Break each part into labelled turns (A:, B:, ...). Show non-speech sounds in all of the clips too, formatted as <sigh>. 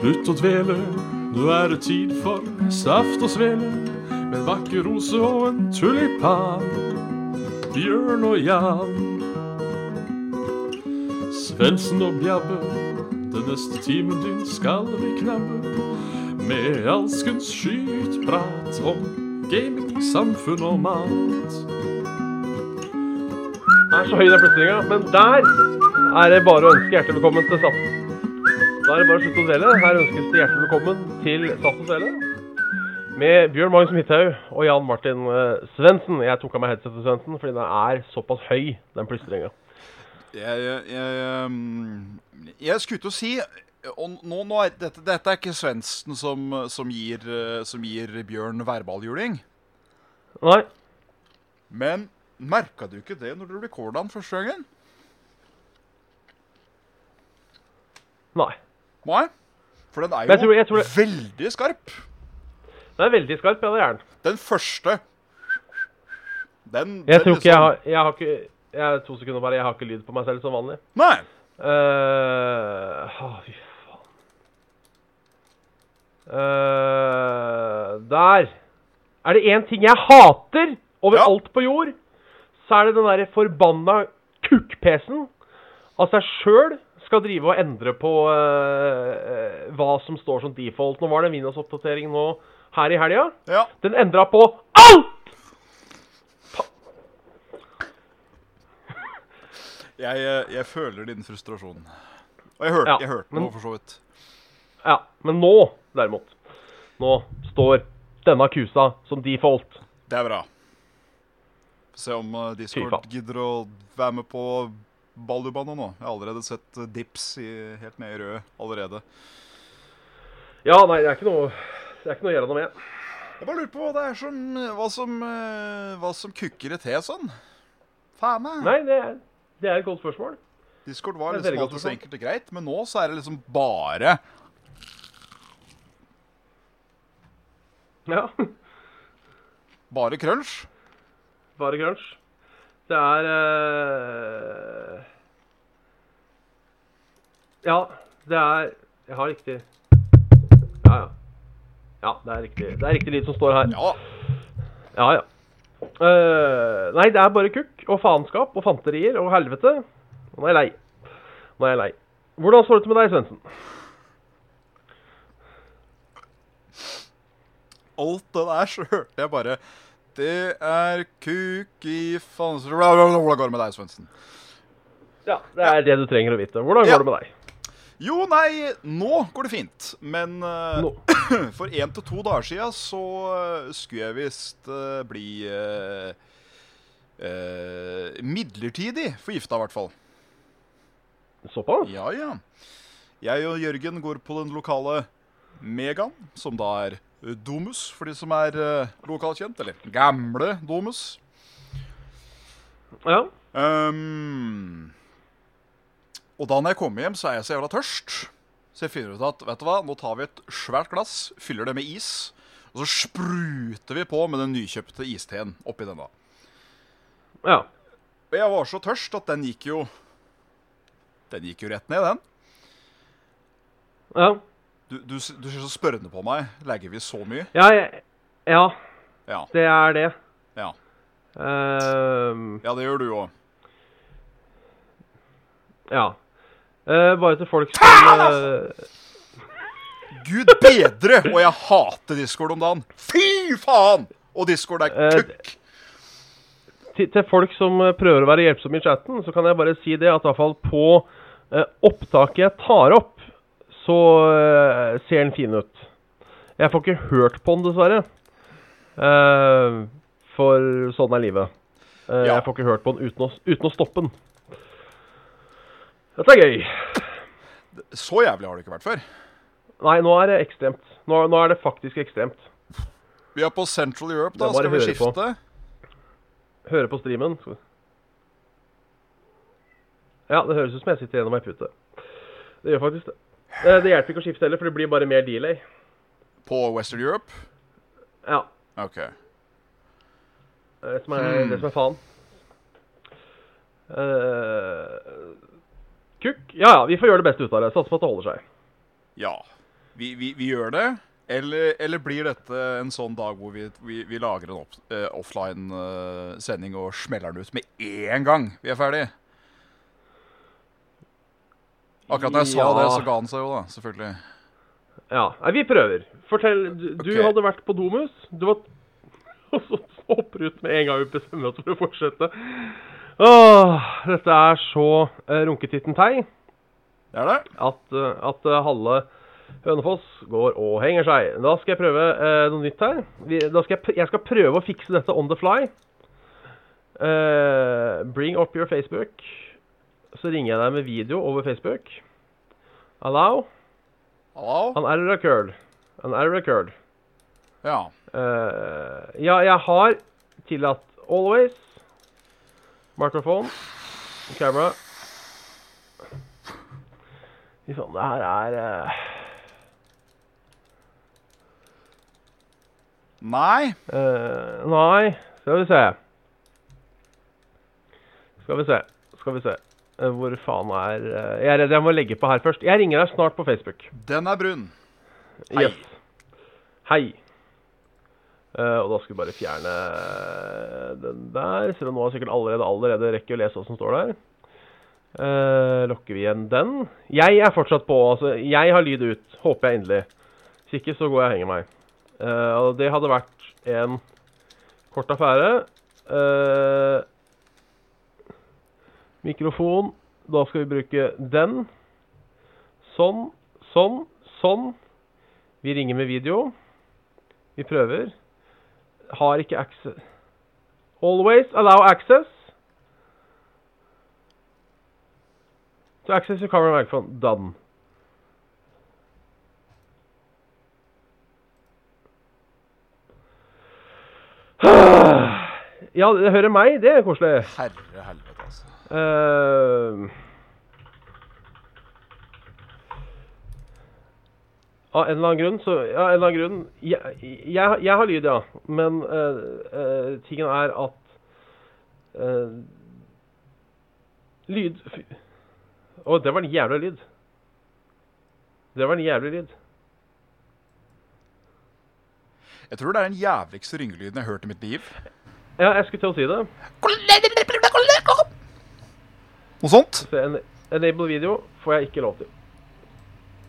A: Slutt å dvele, nå er det tid for saft og svele. Med en vakker rose og en tulipan. Bjørn og Jan. Svendsen og Bjabbe, den neste timen din skal vi knabbe. Med alskens skytprat om gaming, samfunn og mat.
B: Det er så høy den plystringa, men der er det bare å ønske hjertelig velkommen til SAS. Da er det bare å slutte å dele. Her ønskes det hjertelig velkommen til SAS og Sele. Med Bjørn Magnus Midthaug og Jan Martin eh, Svendsen. Jeg tok av meg headsetet, Svendsen, fordi den er såpass høy, den plystringa.
C: Jeg, jeg, jeg, mm, jeg skulle til å si og nå, nå er, dette, dette er ikke Svendsen som, som, gir, eh, som gir Bjørn værballjuling.
B: Nei,
C: Men merka du ikke det når du recorda den første gangen?
B: nei.
C: Nei. For den er jo
B: Men jeg tror- jeg tror det-
C: veldig skarp.
B: Den er veldig skarp, ja, det er den.
C: Den første. Den,
B: Jeg
C: den
B: tror ikke
C: liksom-
B: jeg har Jeg har ikke jeg er to sekunder bare, jeg har ikke lyd på meg selv som vanlig.
C: Nei.
B: eh å, fy faen. Eh, der. Er det én ting jeg hater overalt på jord, så er det den derre forbanna kukk-PC-en av seg sjøl skal drive og endre på eh, eh, hva som står som default. Nå var det en Windows-oppdatering nå her i helga.
C: Ja.
B: Den endra på alt!
C: Jeg, eh, jeg føler din frustrasjon. Og jeg hørte,
B: Ja,
C: jeg hørte
B: men-
C: noe, for så vidt.
B: Ja, men nå, derimot, nå står denne kusa som default.
C: Det er bra. Se om eh, Discord
B: faen.
C: gidder å være med på ballubane nå. Jeg har allerede sett eh, dips i, helt ned i røde allerede.
B: Ja, nei, det er ikke noe, det er ikke noe å gjøre noe med.
C: Jeg bare lurer på hva det er som Hva som, eh, hva som kukker i te sånn. Faen meg.
B: Nei, det er, det er et godt spørsmål.
C: Discord var
B: Det er
C: liksom
B: veldig godt
C: alltid så
B: forstått.
C: enkelt og greit, men nå så er det liksom bare
B: Ja,
C: Bare crunch.
B: <laughs> bare crunch. Det er eh, Ja, det er Jeg har riktig Ja, ja. Ja, det er riktig, det er riktig lyd som står her.
C: Ja.
B: Ja, ja. Eh, nei, det er bare kukk og faenskap og fanterier og helvete. Nå er jeg lei. Nå er jeg lei. Hvordan står det til med deg, Svendsen?
C: Alt det der <laughs> så hørte jeg bare Det er kuk i faen Hvordan går det med deg, Svendsen?
B: Ja, Det er det du trenger å vite. Hvordan går
C: Ja.
B: det med deg?
C: Jo, nei, nå går det fint. Men eh,
B: Nå.
C: for én til to dager sia så eh, skulle jeg visst eh, bli eh, eh, midlertidig forgifta, i hvert fall.
B: Såpass?
C: Ja, ja. Jeg og Jørgen går på den lokale Megaen, som da er eh, Domus, for de som er eh, lokalkjent. Eller gamle Domus.
B: Ja.
C: Ehm, og da når jeg kommer hjem, så er jeg så jævla tørst. Så jeg finner ut at vet du hva, nå tar vi et svært glass, fyller det med is, og så spruter vi på med den nykjøpte isteen oppi den. da.
B: ja.
C: Og jeg var så tørst at den gikk jo Den gikk jo rett ned, den.
B: Ja.
C: Du, du, s- du ser så spørrende på meg. Legger vi så mye?
B: Ja, jeg- ja
C: Ja.
B: det er det.
C: Ja,
B: Ehm,
C: ja det gjør du òg.
B: ja. Eh, bare til folk som eh,
C: Gud bedre! Og jeg hater Discord om dagen. Fy faen! Og Discord er
B: Eh,
C: kukk.
B: til, til folk som eh, prøver å være hjelpsomme i chatten, så kan jeg bare si det at i hvert fall på eh, opptaket jeg tar opp, så eh, ser den fin ut. Jeg får ikke hørt på den, dessverre. Eh, for sånn er livet. Eh,
C: Ja.
B: Jeg får ikke hørt på den uten å, uten å stoppe den. Dette er gøy.
C: Så jævlig har det ikke vært før.
B: Nei, nå er det ekstremt. Nå, nå er det faktisk ekstremt.
C: Vi er på Central Europe,
B: Det
C: da.
B: er bare
C: Skal
B: å
C: vi
B: høre
C: skifte?
B: på. Høre på streamen. Skal vi- Ja, det høres ut som jeg sitter gjennom ei pute. Det gjør faktisk det. Eh, Det hjelper ikke å skifte heller, for det blir bare mer delay.
C: På Western Europe?
B: Ja,
C: OK.
B: det er det som er, det som er faen. Eh, kukk. Ja ja, vi får gjøre det beste ut av det. Satser på at det holder seg.
C: Ja. vi, vi, vi gjør det, eller, eller blir dette en sånn dag hvor vi, vi, vi lager en opp, eh, offline eh, sending og smeller den ut med én gang vi er ferdig? Akkurat da jeg sa
B: Ja.
C: det, så ga han seg jo, da. Selvfølgelig.
B: Ja, nei, vi prøver. Fortell. Du, du
C: Ok.
B: hadde vært på Domus. Du var <laughs> Og så hopper du ut med en gang vi bestemmer oss for å fortsette. Åh, dette er så eh, runketitten tei
C: Det er det.
B: at, eh, at eh, halve Hønefoss går og henger seg. Da skal jeg prøve eh, noe nytt her. Vi, da skal jeg, pr- jeg skal prøve å fikse dette on the fly. Eh, bring up your Facebook. Så ringer jeg deg med video over Facebook. Allow.
C: Hallo?
B: An error occurred. An error occurred.
C: Ja.
B: Eh, ja, jeg har tillatt Always. Smartphone. Camera. Fy faen, det her er
C: Nei.
B: eh, eh, Nei, skal vi se. Skal vi se. Skal vi se. Eh, Hvor faen er eh, Jeg er redd jeg må legge på her først. Jeg ringer deg snart på Facebook.
C: Den er brun. Hei.
B: Yes. Hei. Eh, og da skal vi bare fjerne eh, den der. Selv om nå har sikkert allerede allerede rekker å lese hva som står der. Eh, lokker vi igjen den. Jeg er fortsatt på. altså Jeg har lyd ut. Håper jeg endelig. Hvis ikke, så går jeg og henger meg. Eh, og det hadde vært en kort affære. Eh, mikrofon. Da skal vi bruke den. Sånn, sånn, sånn. Vi ringer med video. Vi prøver. Har ikke access Always allow access. To access your camera microphone. Done. <sighs> Ja, det hører meg. Det er koselig.
C: Herre helvete, altså.
B: Eh, av en eller annen grunn, så Av en eller annen grunn Jeg, jeg, jeg har lyd, ja. Men eh, eh, tingen er at eh, Lyd fy- Å, det var en jævla lyd. Det var en jævlig lyd.
C: Jeg tror det er den jævligste ringelyden jeg har hørt i mitt liv.
B: Ja, jeg skulle til å si det.
C: Noe sånt.
B: Så en, enable video får jeg ikke lov til.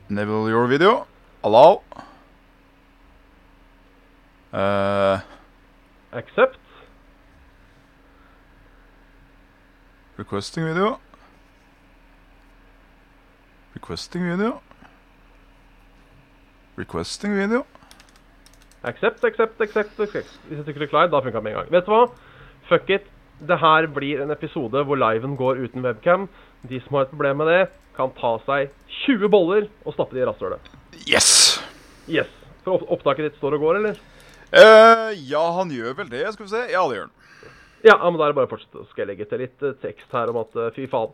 C: Enable your video. Allow. Eh,
B: Accept.
C: requesting video. Requesting video. Requesting video.
B: Accept, accept, accept, accept. Hvis jeg trykker klar, da funka det med en gang. Vet du hva? Fuck it. Det her blir en episode hvor liven går uten webcam. De som har et problem med det, kan ta seg 20 boller og stappe de i rasshølet.
C: Yes!
B: Yes. For opp- opptaket ditt står og går, eller?
C: Eh, ja, han gjør vel det. Skal vi se. Ja, det gjør han.
B: Ja, ja, men da er det bare å fortsette. Så skal jeg legge til litt eh, tekst her om at eh, fy faen.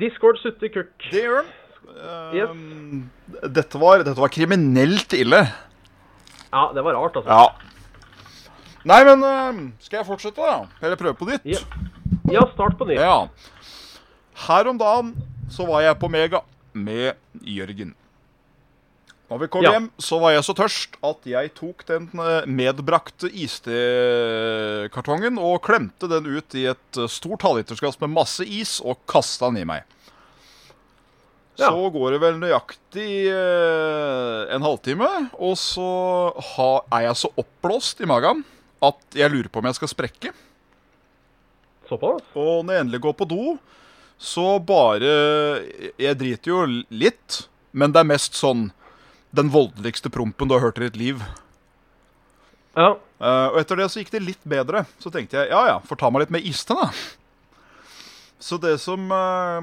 B: Discord sutter kukk.
C: Det gjør han. Ehm, dette, var, dette var kriminelt ille.
B: Ja, det var rart, altså.
C: Ja. Nei, men eh, skal jeg fortsette, da? Eller prøve på nytt?
B: Ja. Ja, start på nytt.
C: Ja. Her om dagen så var jeg på Mega med Jørgen. Når vi kom
B: Ja.
C: hjem, så var jeg så tørst at jeg tok den eh, medbrakte istekartongen og klemte den ut i et eh, stort halvlitersglass med masse is og kasta den i meg.
B: Ja.
C: Så går det vel nøyaktig eh, en halvtime, og så ha, er jeg så oppblåst i magen at jeg lurer på om jeg skal sprekke.
B: Såpass?
C: Og når jeg endelig går på do, så bare Jeg driter jo litt, men det er mest sånn den voldeligste prompen du har hørt i ditt liv.
B: Ja.
C: Eh, og etter det så gikk det litt bedre. Så tenkte jeg ja ja, får ta meg litt med iste, da. Så det som eh,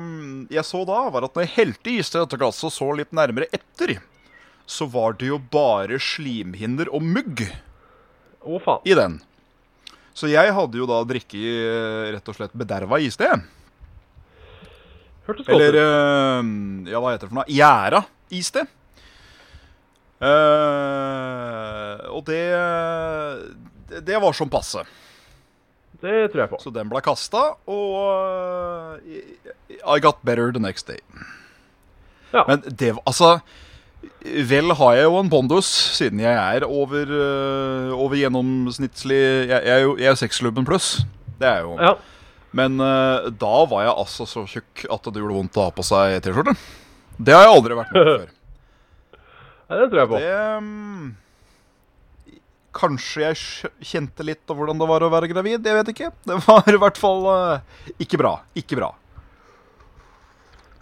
C: jeg så da, var at når jeg helte is til dette glasset og så litt nærmere etter, så var det jo bare slimhinner og mugg
B: Å, faen.
C: i den. Så jeg hadde jo da drikke i eh, rett og slett bederva iste. jeg.
B: Hørtes godt
C: Eller
B: ut.
C: eh, Ja, hva heter det for noe? Gjæra is det. Eh, og det Det var sånn passe.
B: Det tror jeg på.
C: Så den ble kasta, og eh, I got better the next day.
B: Ja.
C: Men det var Altså Vel har jeg jo en bondus, siden jeg er over, eh, over gjennomsnittlig Jeg, jeg er jo jeg er sexklubben pluss. Det er jeg jo.
B: Ja.
C: Men eh, da var jeg altså så tjukk at det gjorde vondt å ha på seg T-skjorte. Det har jeg aldri vært med på før.
B: ja, det tror jeg på.
C: Det mm, Kanskje jeg skj- kjente litt av hvordan det var å være gravid. Jeg vet ikke. Det var i hvert fall eh, ikke bra. Ikke bra.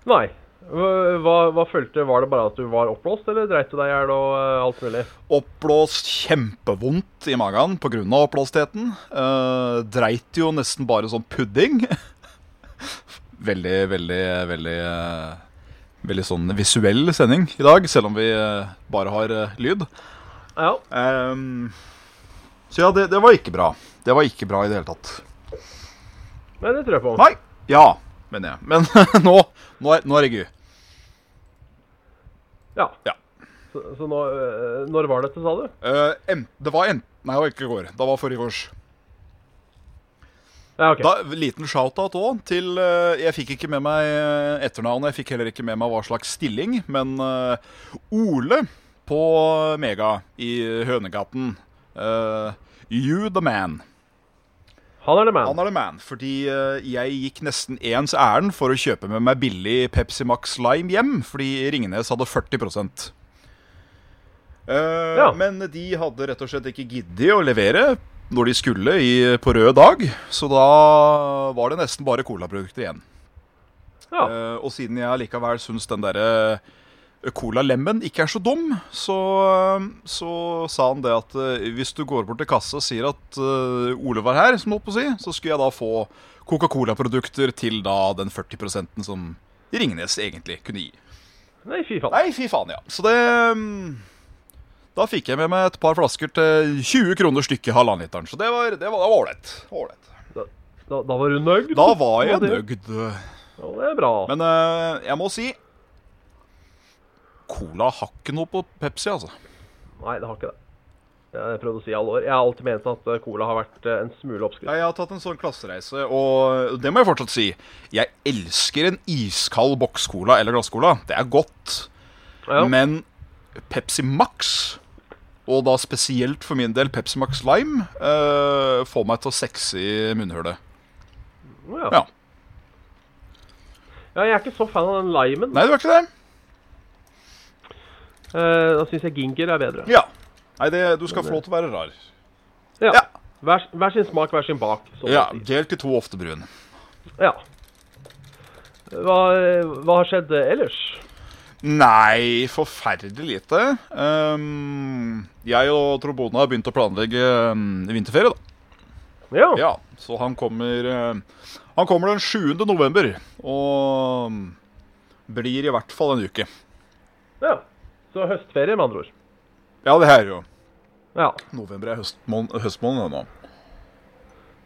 B: Nei. Hva- Hva, hva følte Var det bare at du var oppblåst, eller dreit du deg i hjel og eh, alt mulig?
C: Oppblåst kjempevondt i magen pga. oppblåstheten. Eh, dreit jo nesten bare sånn pudding. <laughs> veldig, veldig, veldig eh, Veldig sånn visuell sending i dag, selv om vi eh, bare har eh, lyd.
B: Ja.
C: Ehm, så ja, det, det var ikke bra. Det var ikke bra i det hele tatt.
B: Nei, det tror jeg på.
C: Nei. Ja, mener jeg. Men <laughs> nå, nå, er, nå er jeg gu.
B: Ja.
C: Ja.
B: Så, så nå, eh, når var dette, sa du?
C: Eh, en, det var enten Nei, det var ikke i går. Det var forrige års.
B: Ja, ok.
C: Da, liten shout-out òg til eh, Jeg fikk ikke med meg eh, etternavnet. Jeg fikk heller ikke med meg hva slags stilling, men eh, Ole på Mega i Hønegaten eh, You the man.
B: Han er the man.
C: Han er the man, fordi eh, jeg gikk nesten ens ærend for å kjøpe med meg billig Pepsi Max Lime hjem, fordi Ringnes hadde 40 Eh,
B: Ja.
C: Men de hadde rett og slett ikke giddet å levere når de skulle i, på rød dag, så da var det nesten bare colaprodukter igjen.
B: Ja.
C: Eh, og siden jeg allikevel syns den derre Cola Lemon ikke er så dum, så, eh, så sa han det at eh, hvis du går bort til kassa og sier at eh, Ole var her, som du holdt på å si, så skulle jeg da få Coca-Cola-produkter til da den 40 som Ringnes egentlig kunne gi.
B: Nei, fy faen.
C: Nei, fy faen, ja. Så det mm, Da fikk jeg med meg et par flasker til 20 kroner stykket, halvannen literen. Så det var det var- det var ålreit. Ålreit.
B: Da, da var du nøyd?
C: Da var jeg
B: det-
C: nøyd.
B: Ja, det er bra.
C: Men eh, jeg må si Cola har ikke noe på Pepsi, altså.
B: Nei, det har ikke det. Det har Jeg prøvde å si i alle år. Jeg har alltid ment at eh, cola har vært eh, en smule oppskrytt.
C: Ja, jeg har tatt en sånn klassereise, og det må jeg fortsatt si. Jeg elsker en iskald boks-cola eller glass-cola. Det er godt.
B: Ja.
C: Men Pepsi Max, og da spesielt for min del Pepsi Max Lime, eh, får meg til å sexe i munnhullet.
B: Ja.
C: Ja.
B: Ja, jeg er ikke så fan av den limen.
C: Nei, det var ikke det.
B: Eh, da syns jeg ginger er bedre.
C: Ja. Nei, det, du skal få lov til å være rar.
B: Ja.
C: Ja.
B: Hver, hver sin smak, hver sin bak. så å
C: Ja,
B: si.
C: Delt i to ofte brun.
B: ja. Hva, hva har skjedd eh, ellers?
C: Nei, forferdelig lite. Ehm, jeg og Trobona har begynt å planlegge ehm, vinterferie, da.
B: Ja.
C: Ja, så han kommer eh, Han kommer den 7. november Og mm, blir i hvert fall en uke
B: Ja. Så høstferie, med andre ord.
C: Ja, det her er jo
B: Ja.
C: November er høstmån høstmåneden nå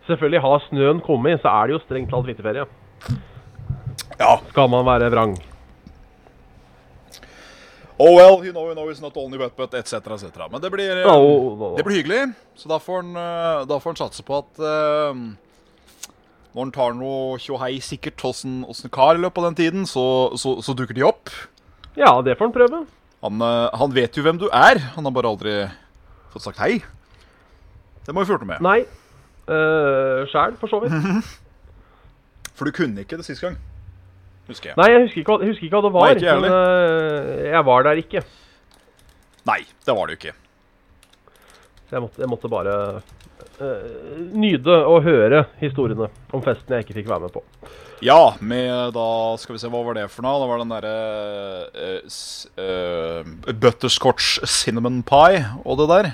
B: Selvfølgelig har snøen kommet, så er det jo strengt talt vinterferie.
C: Ja,
B: Skal man være vrang.
C: oh well, you know, you know, it's not only but but, et cetera, et cetera Men det blir, eh,
B: Ja, og- og- og-
C: det blir hyggelig Så da får han, eh, da får han satse på at eh, Når han tar noe tjohei sikkert hos en, hos en kar i løpet av den tiden Så, så, så duker de opp
B: Ja, det får en prøve.
C: han, eh, han vet jo hvem du er Han har bare aldri fått sagt hei Det må vi fjorte med
B: Nei. Uh, Sjæl, for så vidt.
C: <laughs> For du kunne ikke det sist gang. Husker jeg.
B: Nei, jeg husker ikke, hva- jeg husker ikke hva det var.
C: Nei, ikke jeg
B: men eh, jeg var der ikke.
C: Nei, det var det jo ikke.
B: Så jeg måtte, jeg måtte bare eh, nyte og høre historiene om festen jeg ikke fikk være med på.
C: Ja, med da Skal vi se, hva var det for noe? Det var den derre eh, s- eh, Butterscotch cinnamon pie og det der.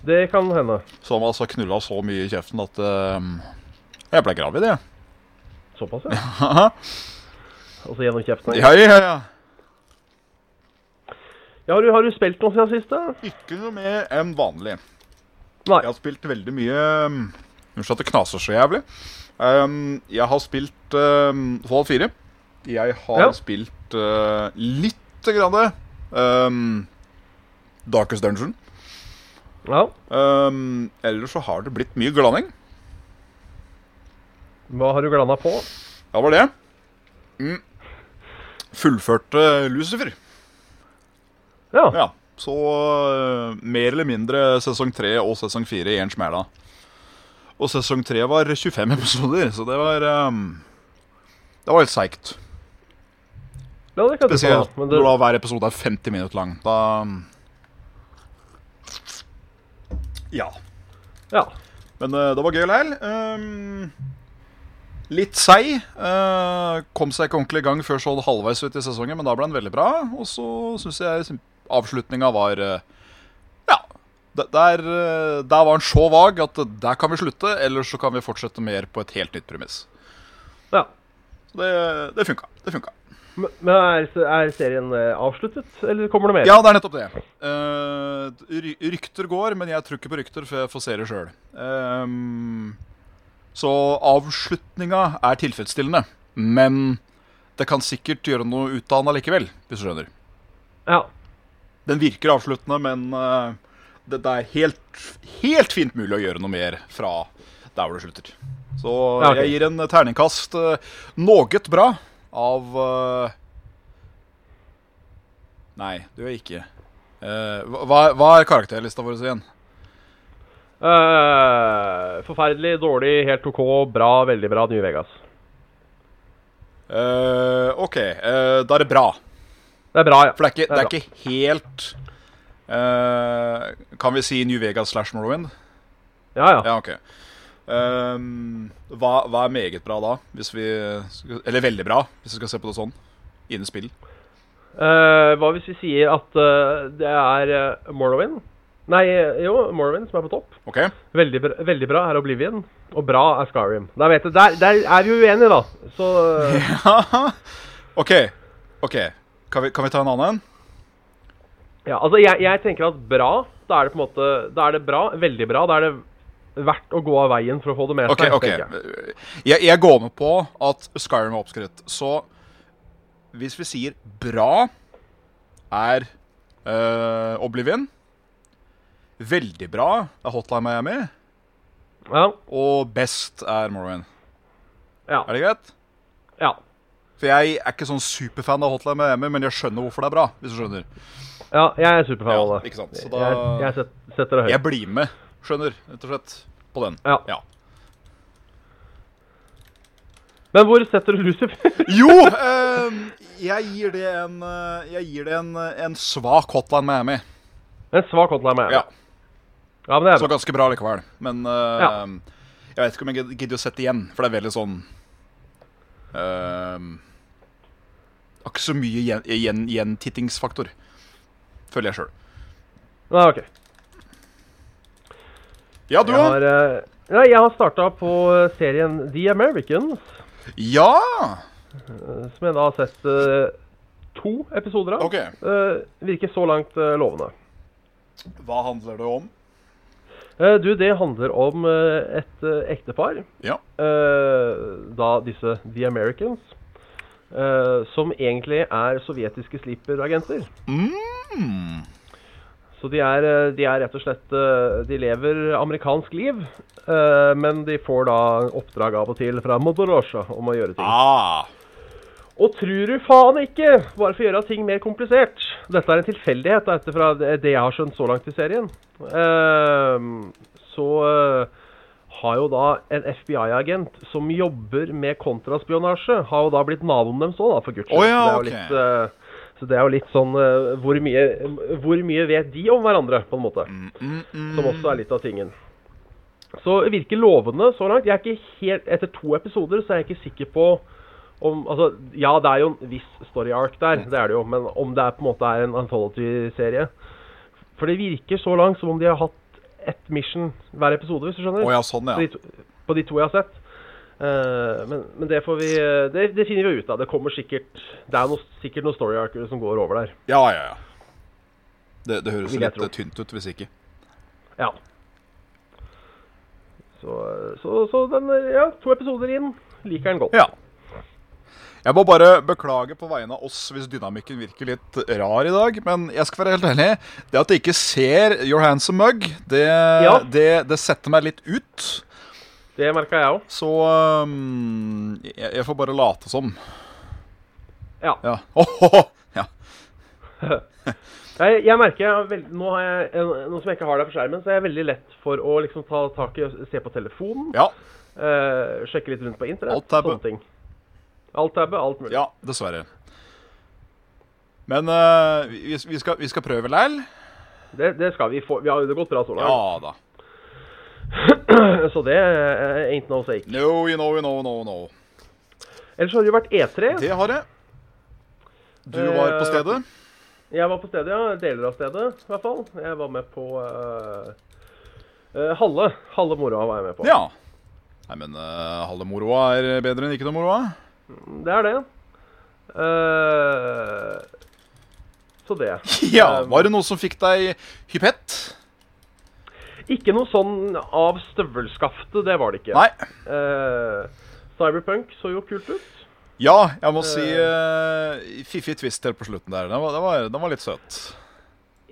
B: Det kan hende.
C: Som altså knulla så mye i kjeften at eh, jeg ble gravid, jeg.
B: Såpass,
C: <laughs>
B: ja. Altså gjennom kjeften.
C: Ja, ja, ja.
B: Ja, har, du, har du spilt noe siden sist? da?
C: Ikke noe mer enn vanlig.
B: Nei.
C: Jeg har spilt veldig mye um, Unnskyld at det knaser så jævlig. Um, jeg har spilt um, Fallout 4. Jeg har
B: Ja.
C: spilt uh, lite grann um, Darkest Dungeon.
B: Ja.
C: Um, ellers så har det blitt mye glanning.
B: Hva har du glana på?
C: Ja, var det. Mm. fullførte Lucifer.
B: Ja.
C: Ja, Så eh, mer eller mindre sesong tre og sesong fire i en smæla. Og sesong tre var 25 episoder, så det var eh, Det var helt seigt.
B: Det hadde jeg ikke hatt det
C: Spesielt
B: på, men
C: når
B: det,
C: da hver episode er 50 minutter lang. Da Ja.
B: ja.
C: Men eh, det var gøy likevel. Ehm, litt seig. Eh, kom seg ikke ordentlig i gang før sånn halvveis ut i sesongen, men da ble den veldig bra. Og så syns jeg avslutninga var eh, Ja. d- Der, eh, der var den så vag at eh, der kan vi slutte, eller så kan vi fortsette mer på et helt nytt premiss.
B: ja.
C: Så det, det funka. Det funka.
B: Men men er, er serien eh, avsluttet, eller kommer det mer?
C: Ja, det er nettopp det. Eh, ry rykter går, men jeg tror ikke på rykter før jeg får se det sjøl. så avslutninga er tilfredsstillende. Men det kan sikkert gjøre noe ut av den allikevel, hvis du skjønner.
B: Ja.
C: Den virker avsluttende, men eh, det, det er helt, helt fint mulig å gjøre noe mer fra der hvor det slutter. Så
B: Ja, ok.
C: jeg gir en terningkast uh, noget bra av eh, Nei, det gjør jeg ikke. Eh, hva- hva, hva er karakterlista vår igjen?
B: Eh, forferdelig, dårlig, helt OK, bra, veldig bra, New Vegas.
C: Eh, OK, eh, da er det bra.
B: Det er bra, ja.
C: For det er ikke, det
B: Det
C: er
B: er
C: ikke helt eh, Kan vi si New Vegas slash Morrowind?
B: Ja, ja.
C: Ja, ok. Ehm, hva, hva er meget bra da? Hvis vi skal, eller veldig bra, hvis vi skal se på det sånn. Innen spill.
B: Eh, hva hvis vi sier at eh, det er eh, Morrowind? Nei, eh, jo, Morrowind som er på topp.
C: OK? <laughs>
B: Veldig bra, veldig bra er Oblivion, og bra er Skyrim. Der, vet du, der, der er vi jo uenige, da. Så eh,
C: OK. ok. Kan vi, kan vi ta en annen en?
B: ja, altså, jeg, jeg tenker at bra, da er det på en måte Da er det bra, veldig bra. Da er det verdt å gå av veien for å få det med
C: OK.
B: seg.
C: ok.
B: tenker jeg.
C: Jeg, jeg går med på at Skyrim er oppskrytt. Så hvis vi sier bra er eh, Oblivion Veldig bra er Hotline Miami.
B: Ja,
C: Og best er Morrowind.
B: ja,
C: Er det greit?
B: ja,
C: For jeg er ikke sånn superfan av Hotline Miami, men jeg skjønner hvorfor det er bra. hvis du skjønner.
B: ja. Jeg er superfan av
C: Ja,
B: det.
C: ikke sant, så
B: Jeg,
C: da-
B: jeg set- setter det høyt.
C: Jeg blir med, skjønner, rett og slett, på den.
B: Ja.
C: Ja.
B: Men hvor setter du Lucifer?
C: Jo! ehm, jeg gir det en, eh, jeg gir det en, eh, en svak Hotline Miami.
B: <laughs> en svak hotline med.
C: Ja,
B: ja, men det er
C: Så
B: bra.
C: ganske bra likevel. Men ehm, jeg vet ikke om jeg gid- gidder å sette igjen, for det er veldig sånn ehm, Ikke så mye gjen- gjen- gjentittingsfaktor, føler jeg sjøl.
B: Nei, ok.
C: Ja, du
B: Jeg
C: òg?
B: har, eh, nei, jeg har starta på eh, serien The Americans,
C: Ja!
B: eh, som jeg da har sett eh, to episoder av.
C: OK.
B: Eh, virker så langt eh, lovende.
C: Hva handler det om?
B: Eh, du, det handler om eh, et eh, ektepar,
C: Ja.
B: eh, da disse The Americans, eh, som egentlig er sovjetiske sleeper-agenter.
C: Mm.
B: Så de er, eh, de er rett og slett eh, De lever amerikansk liv, eh, men de får da oppdrag av og til fra Modorosha om å gjøre ting.
C: Ah.
B: Og trur du faen ikke, bare for å gjøre ting mer komplisert. Dette er en tilfeldighet, da, etter fra det det jeg har skjønt så langt i serien. Ehm, så eh, har jo da en FBI-agent som jobber med kontraspionasje, har jo da blitt naboen deres òg, da, for guds skyld.
C: Å ja,
B: Det er jo
C: ok.
B: litt, eh, så det er jo litt sånn eh, hvor, mye, hvor mye vet de om hverandre, på en måte?
C: Mm, mm.
B: Som også er litt av tingen. Så det virker lovende så langt. Jeg er ikke helt, etter to episoder så er jeg ikke sikker på om Altså, ja, det er jo en viss story arc der, det er det jo, men om det er på en måte er en anthology-serie For det virker så langt som om de har hatt ett mission hver episode, hvis du skjønner?
C: Å ja, sånn,
B: på, de
C: ja.
B: to, på de to jeg har sett. Eh, men, men det får vi eh, det, det finner vi jo ut av. Det kommer sikkert Det er noe, sikkert noen story arcs som går over der.
C: Ja, ja, ja. Det, det høres
B: Vil jeg
C: litt
B: tro.
C: eh, tynt ut hvis ikke.
B: Ja. Så, så, så den Ja, to episoder inn. Liker den godt.
C: Ja. Jeg må bare beklage på vegne av oss hvis dynamikken virker litt rar i dag, men jeg skal være helt ærlig. Det at jeg ikke ser Your Handsome Mug, det,
B: Ja.
C: det, det setter meg litt ut.
B: Det merka jeg òg.
C: mm, Så um, jeg, jeg får bare late som.
B: Ja.
C: Ja. <laughs> Åhåhå. ja.
B: Jeg, jeg merker jeg har veld, nå, har jeg, en- nå som jeg ikke har deg på skjermen, så er jeg veldig lett for å liksom ta tak i og se på telefonen.
C: ja.
B: eh, sjekke litt rundt på internett.
C: Alt-tabbe.
B: Sånne ting. Alt-tabbe, alt mulig.
C: Ja, dessverre. Men eh, vi, vi, skal, vi skal prøve læl.
B: Det, det skal vi få. Vi har jo det gått bra så langt.
C: Ja da.
B: <laughs> Så det eh, ain't no sake.
C: No, you know, you know, no, no.
B: Ellers har det jo vært E E3.
C: Det har jeg. Du var på
B: Eh,
C: stedet.
B: Jeg var på stedet, ja. Deler av stedet, i hvert fall. Jeg var med på eh, eh, halve. Halve moroa var jeg med på.
C: Ja. Nei, men eh, halve moroa er bedre enn ikke noe moroa.
B: Det er det. Eh, så det.
C: <laughs> Ja, Eh, Var det noe som fikk deg hypett?
B: Ikke noe sånn av støvelskaftet, det var det ikke.
C: Nei.
B: Eh, Cyberpunk så jo kult ut.
C: Ja, jeg må si eh, fiffig twist helt på slutten der. Den var, den var, den var litt søt.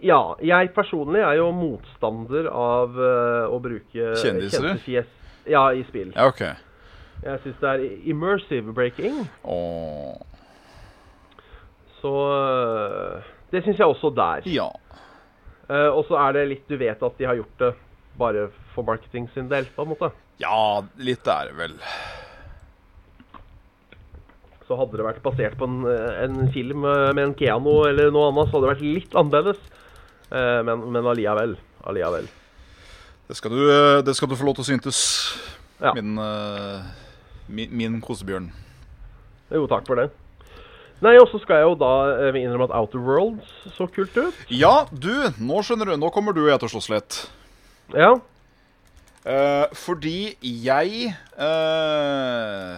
B: Ja, jeg personlig er jo motstander av eh, å bruke
C: Kjendiser?
B: kjentefjes ja, i spill.
C: Ja, OK.
B: Jeg syns det er immersive breaking,
C: Åh.
B: så eh, Det syns jeg også der.
C: Ja.
B: Eh, og så er det litt du vet at de har gjort det bare for marketing sin del, på en måte.
C: Ja, litt er det vel.
B: Så hadde det vært basert på en, eh, en film eh, med en Keanu eller noe annet, så hadde det vært litt annerledes. Eh, men, men alliavel. Alliavel.
C: Det skal du, eh, det skal du få lov til å syntes,
B: Ja.
C: min, eh, min, min kosebjørn.
B: Jo, takk for det. Nei, og så skal jeg jo da eh, innrømme at Outer Worlds så kult ut.
C: Ja, du, nå skjønner du. Nå kommer du og jeg til å slåss litt.
B: Ja.
C: Eh, fordi jeg eh,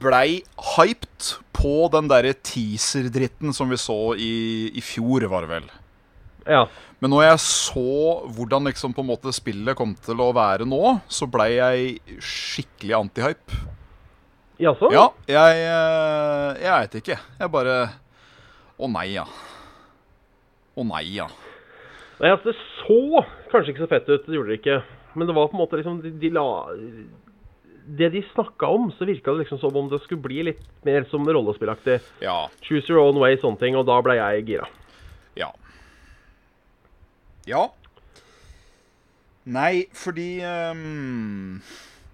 C: blei hyped på den derre teaser-dritten som vi så i, i fjor, var det vel.
B: Ja.
C: Men når jeg så hvordan liksom på en måte spillet kom til å være nå, så blei jeg skikkelig anti-hype.
B: Jaså?
C: Ja, jeg eh, Jeg veit ikke. Jeg bare Å nei, ja. Å nei, ja.
B: Nei, altså, det så kanskje ikke så fett ut, det gjorde det ikke. Men det var på en måte liksom De, de la Det de snakka om, så virka det liksom som om det skulle bli litt mer som rollespillaktig.
C: Ja.
B: Choose your own way, sånne ting. Og da ble jeg gira.
C: Ja. Ja. Nei, fordi ehm,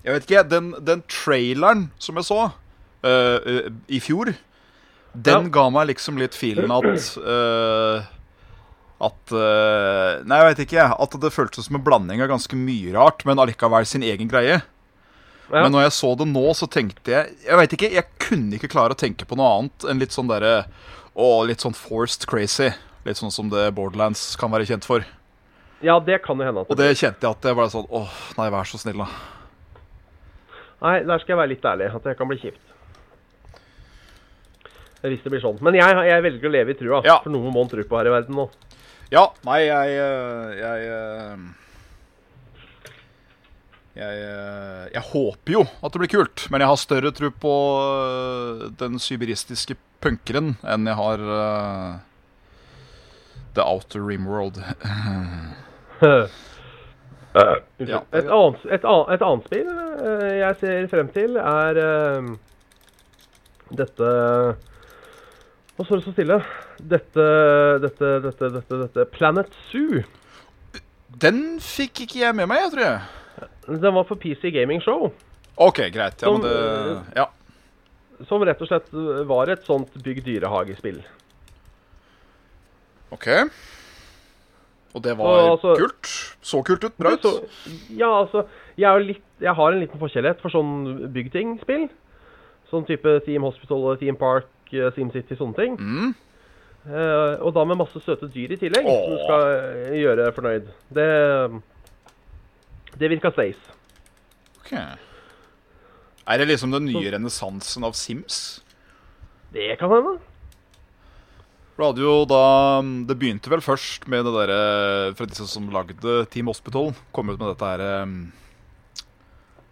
C: Jeg vet ikke, den, den traileren som jeg så eh, eh, i fjor, den
B: Ja.
C: ga meg liksom litt feelen at eh, At eh, Nei, jeg vet ikke. jeg, At det føltes som en blanding av ganske mye rart, men allikevel sin egen greie.
B: Ja.
C: Men når jeg så det nå, så tenkte jeg Jeg vet ikke, jeg kunne ikke klare å tenke på noe annet enn litt sånn derre Å, litt sånn forced crazy. Litt sånn som det Borderlands kan være kjent for.
B: Ja, det kan jo hende. at
C: Og det kjente jeg at jeg bare sånn Åh, nei, vær så snill, da.
B: Nei, der skal jeg være litt ærlig. At det kan bli kjipt. Hvis det blir sånn. Men jeg, jeg velger å leve i trua.
C: Ja.
B: For noe må en tro på her i verden nå.
C: Ja, nei, jeg øh, Jeg øh, jeg, øh, jeg håper jo at det blir kult, men jeg har større tro på øh, den syberistiske punkeren enn jeg har øh, The Outer Rim World.
B: Unnskyld.
C: Ja.
B: et, annet, et, annet, et annet spill eh, jeg ser frem til, er eh, dette Nå står det så stille. Dette, dette, dette, dette, dette Planet Zoo.
C: Den fikk ikke jeg med meg, jeg tror jeg.
B: Den var på PC Gaming Show.
C: OK, greit. Ja, men det Ja.
B: Som rett og slett eh, var et sånt bygg dyrehagespill.
C: OK. Og det var
B: Og altså-
C: kult. Så kult ut. Bra ut.
B: Så, ja, altså, jeg, er jo litt, jeg har en liten forkjærlighet for sånn byggting-spill. Sånn type Team Hospital, Team Park, eh, SimCity, sånne ting.
C: Mm.
B: Eh, og da med masse søte dyr i tillegg, som du
C: Åh.
B: skal eh, gjøre fornøyd. Det, det virka safe.
C: Ok. Er det liksom den nye renessansen av Sims?
B: Det kan hende.
C: For det hadde jo da mm, Det begynte vel først med det derre Fra disse som lagde Team Hospital, kom ut med dette her eh,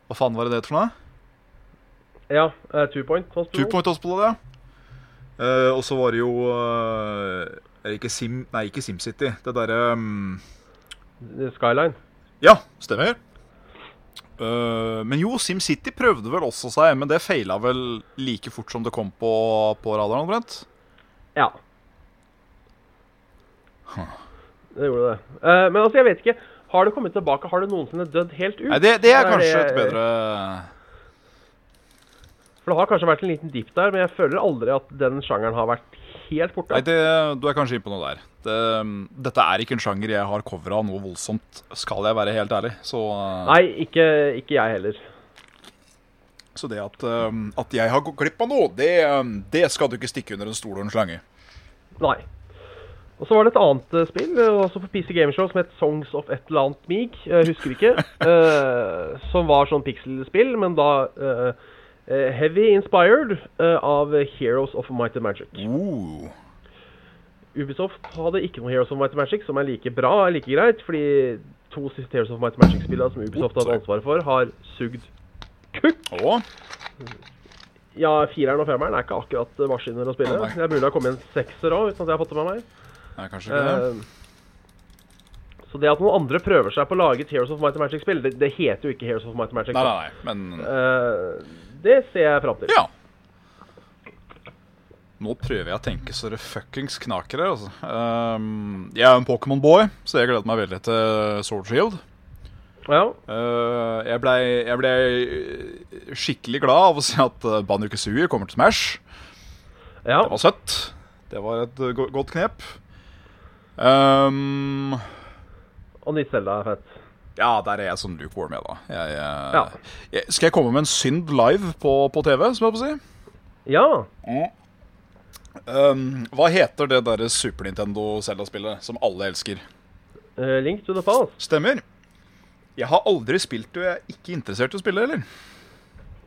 C: Hva faen var det det het for noe?
B: Ja. eh, two point. Hospital.
C: Two Point Hospital, ja. Eh, og så var det jo eh, er det ikke Sim... Nei, ikke mm, SimCity. Det derre
B: Eh, Skyline.
C: Ja, stemmer. Øh, men jo, SimCity prøvde vel også seg, men det feila vel like fort som det kom på, på radaren. omtrent.
B: Ja. Det gjorde det. Eh, men altså, jeg vet ikke. Har det kommet tilbake? Har det noensinne dødd helt ut?
C: Nei, det, det er
B: Eller
C: kanskje et
B: det-
C: bedre
B: For det har kanskje vært en liten dipp der, men jeg føler aldri at den sjangeren har vært helt borte.
C: Nei, det, du er kanskje inne på noe der. Det, dette er ikke en sjanger jeg har covra noe voldsomt, skal jeg være helt ærlig. Så, øh,
B: Nei, ikke, ikke jeg heller.
C: så det at, øh, at jeg har gått glipp av noe, det, øh, det skal du ikke stikke under en stol og en slange.
B: Nei. Og så var det et annet eh, spill, eh, også på PC Gameshow, som het Songs of et eller annet mig. Jeg husker
C: <laughs>
B: ikke. eh, som var sånn pixelspill, men da eh, eh, heavy inspired eh, av Heroes of Might and Magic.
C: Uh,
B: Ubisoft hadde ikke noe Heroes of Might and Magic, som er like bra er like greit, fordi to siste Heroes of Might and Magic-spillene som Ubisoft hadde ansvaret for, har sugd kukk.
C: og
B: Ja, fireren og femmeren er ikke akkurat eh, maskiner å spille.
C: Nei.
B: Det er mulig det har kommet en sekser òg, uten at jeg har fått det med meg.
C: Nei, kanskje ikke det.
B: Eh, så det at noen andre prøver seg på å lage et Heroes of Might and Magic-spill, det, det heter jo ikke Heroes of Might and Magic.
C: Nei, nei, nei, men
B: Eh, det ser jeg fram til.
C: Ja. Nå prøver jeg å tenke så det fuckings knaker her, altså. Ehm, jeg er jo en Pokémon-boy, så jeg gleder meg veldig til Sword Shield.
B: Ja.
C: Eh, jeg blei jeg ble skikkelig glad av å se at eh, Banjo-Kazooie kommer til Smash.
B: ja.
C: Det var søtt. Det var et eh, go godt knep. Ehm,
B: Og nytt Zelda er fett.
C: ja, der er jeg sånn lukewarm, jeg, da. Jeg, jeg,
B: Ja.
C: jeg, skal jeg komme med en synd live på, på TV, som jeg holdt på å si?
B: Ja.
C: Um, hva heter det derre Super Nintendo Zelda-spillet som alle elsker?
B: eh, Link to the Past.
C: Stemmer. Jeg har aldri spilt det, og jeg er ikke interessert i å spille heller.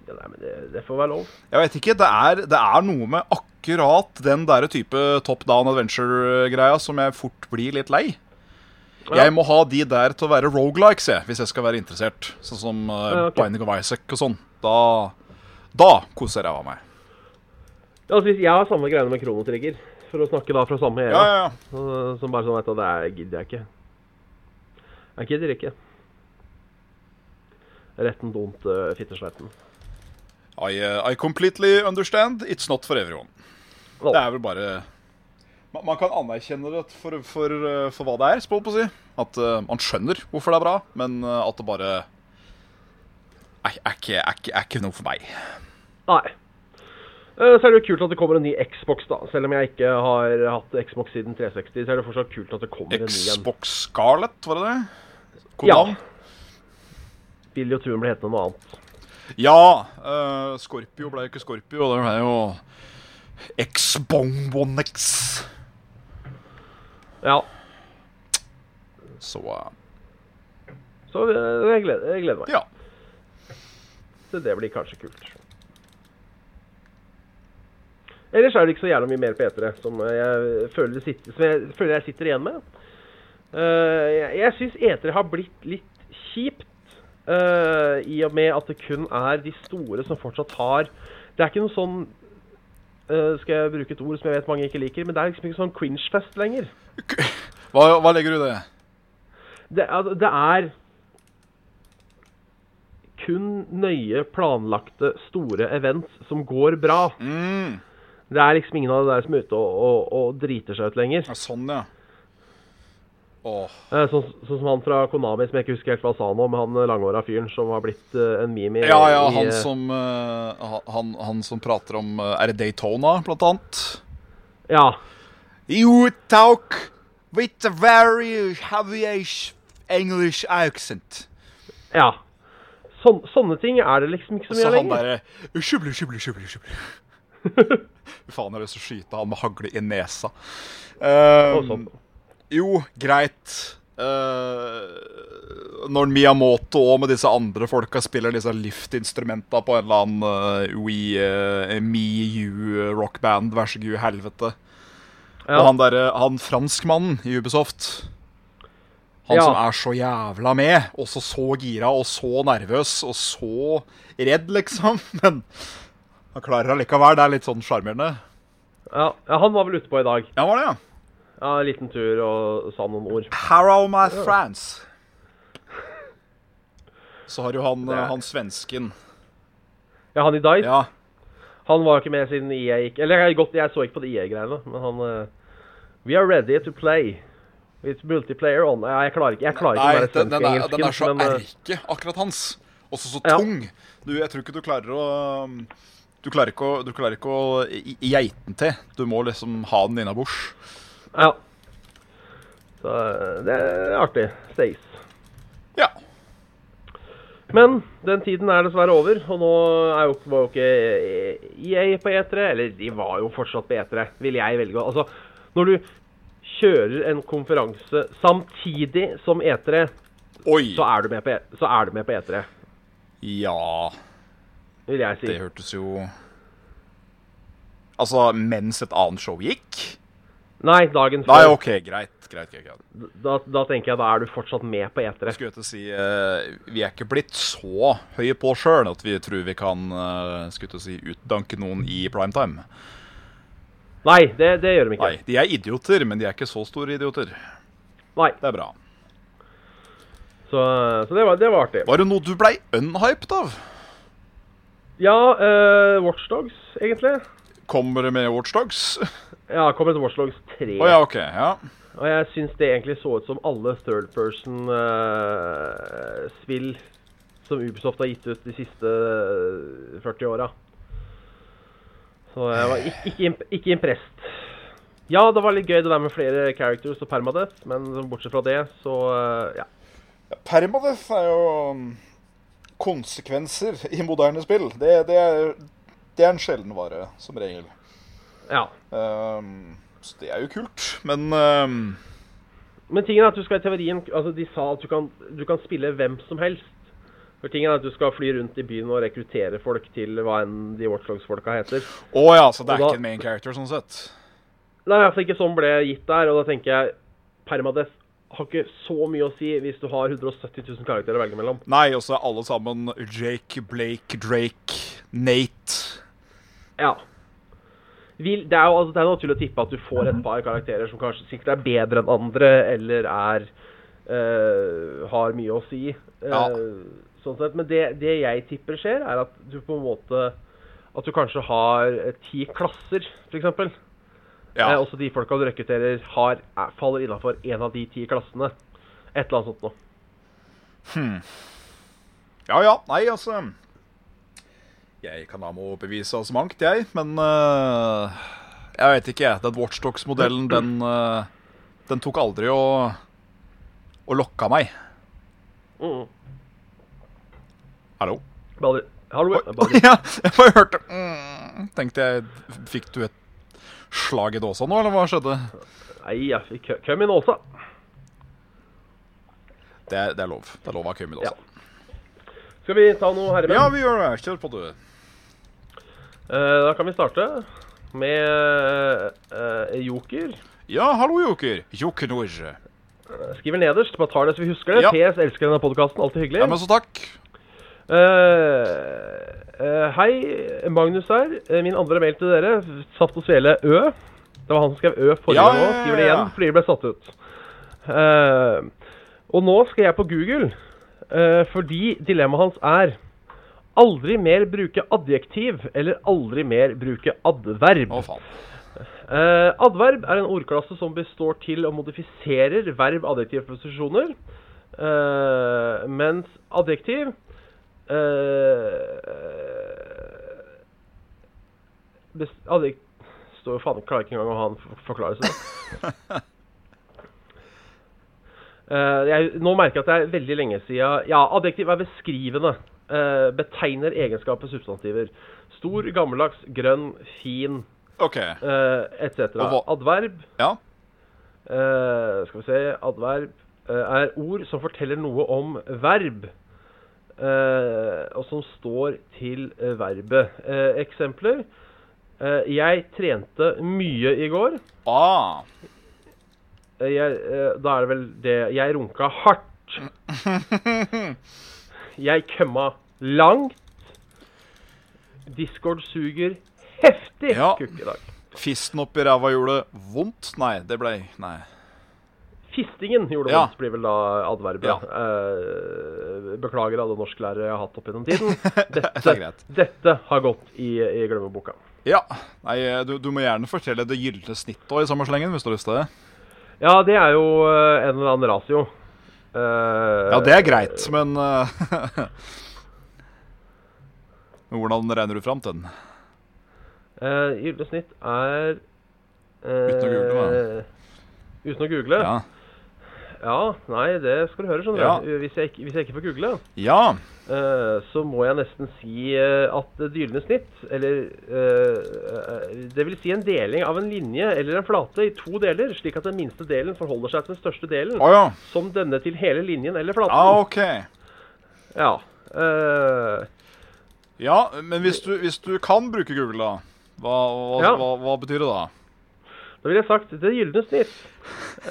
B: Ja, nei, men det, det får være lov.
C: Jeg vet ikke, det er, det er noe med akkurat den derre type top down adventure-greia som jeg fort blir litt lei.
B: Ja.
C: Jeg må ha de der til å være rogelikes, jeg, hvis jeg skal være interessert. Sånn som uh,
B: Ja, ok.
C: Binding of Isaac og sånn. Da, da koser jeg av meg.
B: Ja, altså, hvis jeg har samme greiene med kronotrigger, for å snakke da fra samme
C: Ja,
B: era,
C: ja, ja.
B: så- som bare sånn vet du, det er, gidder jeg ikke. Jeg gidder ikke. Retten dumt, uh, fittesleiten.
C: I, uh, I completely understand. It's not for everyone.
B: Vel.
C: Det er vel bare Man, man kan anerkjenne det for, for, uh, for hva det er, spå på å si. At uh, man skjønner hvorfor det er bra, men uh, at det bare Nei, er ikke, er, ikke, er ikke noe for meg.
B: Nei. Eh, Så er det jo kult at det kommer en ny Xbox, da. Selv om jeg ikke har hatt Xbox siden 360, så er det fortsatt kult at det kommer en ny en.
C: Xbox Scarlett, var det det?
B: Ja.
C: Kodenavn?
B: Vil jo tro den blir hetende noe annet.
C: Ja. uh, Scorpio ble jo ikke Scorpio, det ble jo Xbong One X.
B: Ja.
C: Så uh,
B: Så eh, jeg gleder, jeg gleder meg.
C: ja.
B: Så det blir kanskje kult. Ellers er det ikke så jævla mye mer P3 som eh, jeg føler, det sitter, som jeg, føler jeg sitter igjen med. Eh, jeg jeg syns E3 har blitt litt kjipt, eh, i og med at det kun er de store som fortsatt har Det er ikke noe sånn eh, Skal jeg bruke et ord som jeg vet mange ikke liker, men det er liksom ikke sånn cringe-fest lenger.
C: Hva, hva legger du i det?
B: Det, altså, det er kun nøye planlagte store events som går bra.
C: Mm.
B: Det er liksom ingen av det der som er ute og, og, og driter seg ut lenger.
C: Ja, sånn, ja. Åh.
B: Eh, Sånn sånn som han fra Konami som jeg ikke husker helt hva sa nå, men han eh, langhåra fyren som har blitt eh, en meme i
C: Ja, ja,
B: i,
C: han
B: eh,
C: som, eh, ha- han, han som prater om eh, Er det Daytona, blant annet?
B: Ja.
C: You talk with a very heavy English accent.
B: ja. Sånn- sånne ting er det liksom ikke så
C: Så
B: mye av
C: han
B: lenger.
C: derre Skjuble, skjuble, skjuble. skjuble.
B: <laughs>
C: Fy faen, jeg har lyst til å skyte han med hagle i nesa. Ehm,
B: Og sånn.
C: jo, greit. Eh, når Miyamoto og med disse andre folka spiller disse liftinstrumenta på en eller annen eh, We, eh, Me, You eh, rockband, vær så god, helvete.
B: Ja.
C: Og han derre Han franskmannen i Ubisoft. Han
B: Ja.
C: som er så jævla med, og så så gira og så nervøs og så redd, liksom. <laughs> Men han klarer allikevel. Det er litt sånn sjarmerende.
B: Ja, ja, han var vel ute på i dag.
C: Ja, var det, ja.
B: Ja, En liten tur og sa noen ord.
C: Harrow my friends. Så har jo han, eh,
B: Det er-
C: han svensken.
B: Ja, han i Dice.
C: Ja.
B: Han var jo ikke med siden IA gikk Eller jeg, godt, jeg så ikke på de IA-greiene, men han eh, We are ready to play. It's multiplayer on Ja, jeg klarer ikke jeg klarer
C: Nei,
B: ikke
C: den, den, er,
B: svenske
C: den er så
B: engelsken, men, eh,
C: erke, akkurat hans. Også så
B: Ja.
C: tung. Du, jeg tror ikke du klarer å um, Du klarer ikke å, du klarer ikke å i- i geiten til. Du må liksom ha den innabords.
B: Ja. Så eh, det er artig. Stays.
C: Ja.
B: Men den tiden er dessverre over, og nå er jo, var jo ikke EA på E3. Eller de var jo fortsatt på E3, vil jeg velge. å- Altså, når du kjører en konferanse samtidig som E3,
C: Oi.
B: så er du med på, E- så er du med på E3,
C: Ja,
B: vil jeg si.
C: det hørtes jo Altså, mens et annet show gikk?
B: Nei, dagen
C: Nei,
B: før.
C: OK, greit. greit, greit, greit.
B: Da, da tenker jeg da er du fortsatt med på E
C: Jeg
B: E3.
C: skulle til å si eh, Vi er ikke blitt så høye på sjøl at vi tror vi kan eh, skulle til å si, utdanke noen i prime time.
B: Nei, det, det gjør de ikke.
C: Nei, de er idioter, men de er ikke så store idioter.
B: Nei.
C: Det er bra.
B: Så, så det, var, det var artig.
C: Var det noe du blei unhyped av?
B: Ja, uh, Watchdogs, egentlig.
C: Kommer det med Watchdogs? Å
B: Ja, kom et Watchdogs 3.
C: ja, OK. Ja.
B: Og jeg syns det egentlig så ut som alle third person-spill som Ubisoft har gitt ut de siste eh, 40 åra. Så jeg var ikke, ikke, imp ikke impressed. Ja, det var litt gøy det der med flere characters og permadeath, men bortsett fra det, så eh, ja.
C: Permadeath er jo mm, konsekvenser i moderne spill. Det, det, er, det er en sjelden vare, som regel.
B: ja.
C: Ehm, så det er jo kult, men ehm,
B: Men tingen er at du skal i teorien Altså, de sa at du kan, du kan spille hvem som helst. For tingen er at du skal fly rundt i byen og rekruttere folk til hva enn de Watchdogs-folka heter.
C: Å ja, så det er
B: Og da-
C: ikke en main character, sånn sett.
B: Nei, altså ikke sånn ble gitt der, og da tenker jeg Permadeath har ikke så mye å si hvis du har 170 000 karakterer å velge mellom.
C: Nei, og så er alle sammen Jake, Blake, Drake, Nate.
B: Ja. Vil, det, er jo, altså, det er naturlig å tippe at du får
C: Mhm.
B: et par karakterer som kanskje sikkert er bedre enn andre, eller er eh, har mye å si. eh,
C: Ja.
B: Sånn sett. Men det, det jeg tipper skjer, er at du på en måte At du kanskje har eh, ti klasser, f.eks.
C: Ja.
B: Eh, også de folka du rekrutterer, har, er, faller innafor en av de ti klassene. Et eller annet sånt noe.
C: Ja, ja. Nei, altså Jeg kan da må bevise så mangt, jeg, men øh, Jeg vet ikke, jeg. Den Watchdogs-modellen, den, øh, den tok aldri å Å lokka meg.
B: Mm.
C: Hallo?
B: Balder. Hallo.
C: Oi, <laughs> oi,
B: Balder.
C: ja, jeg bare hørte mm, Tenkte jeg f- Fikk du et slag i dåsa nå, eller hva skjedde?
B: Nei, ja. vi kø- Kom inn, Åsa.
C: Det er, det er lov. Det er lov å ha køm i dåsa.
B: Skal vi ta noe herremenn?
C: Ja, vi gjør det. Kjør på, du.
B: Eh, da kan vi starte med eh, eh, Joker.
C: Ja, hallo, Joker. Joker Norge.
B: Skriver nederst. Bare tar det så vi husker det.
C: Ja.
B: PS elsker denne podkasten. Alltid hyggelig.
C: Ja, men så takk.
B: Eh, eh, hei, Magnus her. Eh, Min andre mail til dere. Saft og svele Ø. Det var han som skrev Ø forrige
C: Ja,
B: gang òg.
C: ja, ja,
B: Skriver det
C: ja.
B: igjen fordi det ble satt ut. Eh, og nå skal jeg på Google eh, fordi dilemmaet hans er Aldri mer bruke adjektiv eller aldri mer bruke adverb.
C: Å, faen.
B: Eh, adverb er en ordklasse som består til og modifiserer verb, adjektiv, posisjoner. Eh, mens adjektiv eh, bes- adjek- står jo faen klarer ikke engang å ha en for- forklarelse. Eh, jeg, nå merker jeg at det er veldig lenge siden Ja, adjektiv er beskrivende. Eh, betegner egenskaper, substantiver. Stor, gammeldags, grønn, fin
C: OK.
B: uh, etc.
C: Og hva-
B: Adverb
C: Ja.
B: eh, Skal vi se Adverb eh, er ord som forteller noe om verb, eh, og som står til eh, verbet. Eh, eksempler eh, Jeg trente mye i går.
C: Ah.
B: Eh, jeg, eh, da er det vel det Jeg runka
C: <laughs>
B: hardt. Jeg kømma langt. Discord suger heftig
C: Ja.
B: kukk i dag.
C: Fisten oppi ræva gjorde vondt? Nei, det blei Nei.
B: Fistingen gjorde
C: Ja.
B: vondt, blir vel da adverbet.
C: Ja.
B: Eh, beklager alle norsklærere jeg har hatt opp gjennom tiden. <laughs>
C: Det er
B: Dette,
C: greit.
B: dette har gått i, i glemmeboka.
C: Ja. Nei, du, du må gjerne fortelle det gylne snittet også i samme slengen, hvis du har lyst til det.
B: Ja, det er jo eh, en eller annen rasio. Eh,
C: Ja, det er greit, men eh, <laughs> Men Hvordan regner du fram til den?
B: eh, gyldig snitt er
C: Uten å google,
B: da. Uten å google? Ja.
C: Ja.
B: Nei, det skal du høre, skjønner
C: Ja.
B: du. Hvis jeg, ikke- hvis jeg ikke får google.
C: ja.
B: Eh, så må jeg nesten si eh, at det dyrende snitt, eller eh, eh, Det vil si en deling av en linje eller en flate i to deler, slik at den minste delen forholder seg til den største delen,
C: Å ja.
B: som denne til hele linjen eller flaten.
C: Ja, OK.
B: Ja. Eh,
C: Ja, men hvis du, hvis du kan bruke Google, da, hva, hva,
B: Ja.
C: hva, hva betyr det da?
B: da ville jeg sagt det gylne snitt.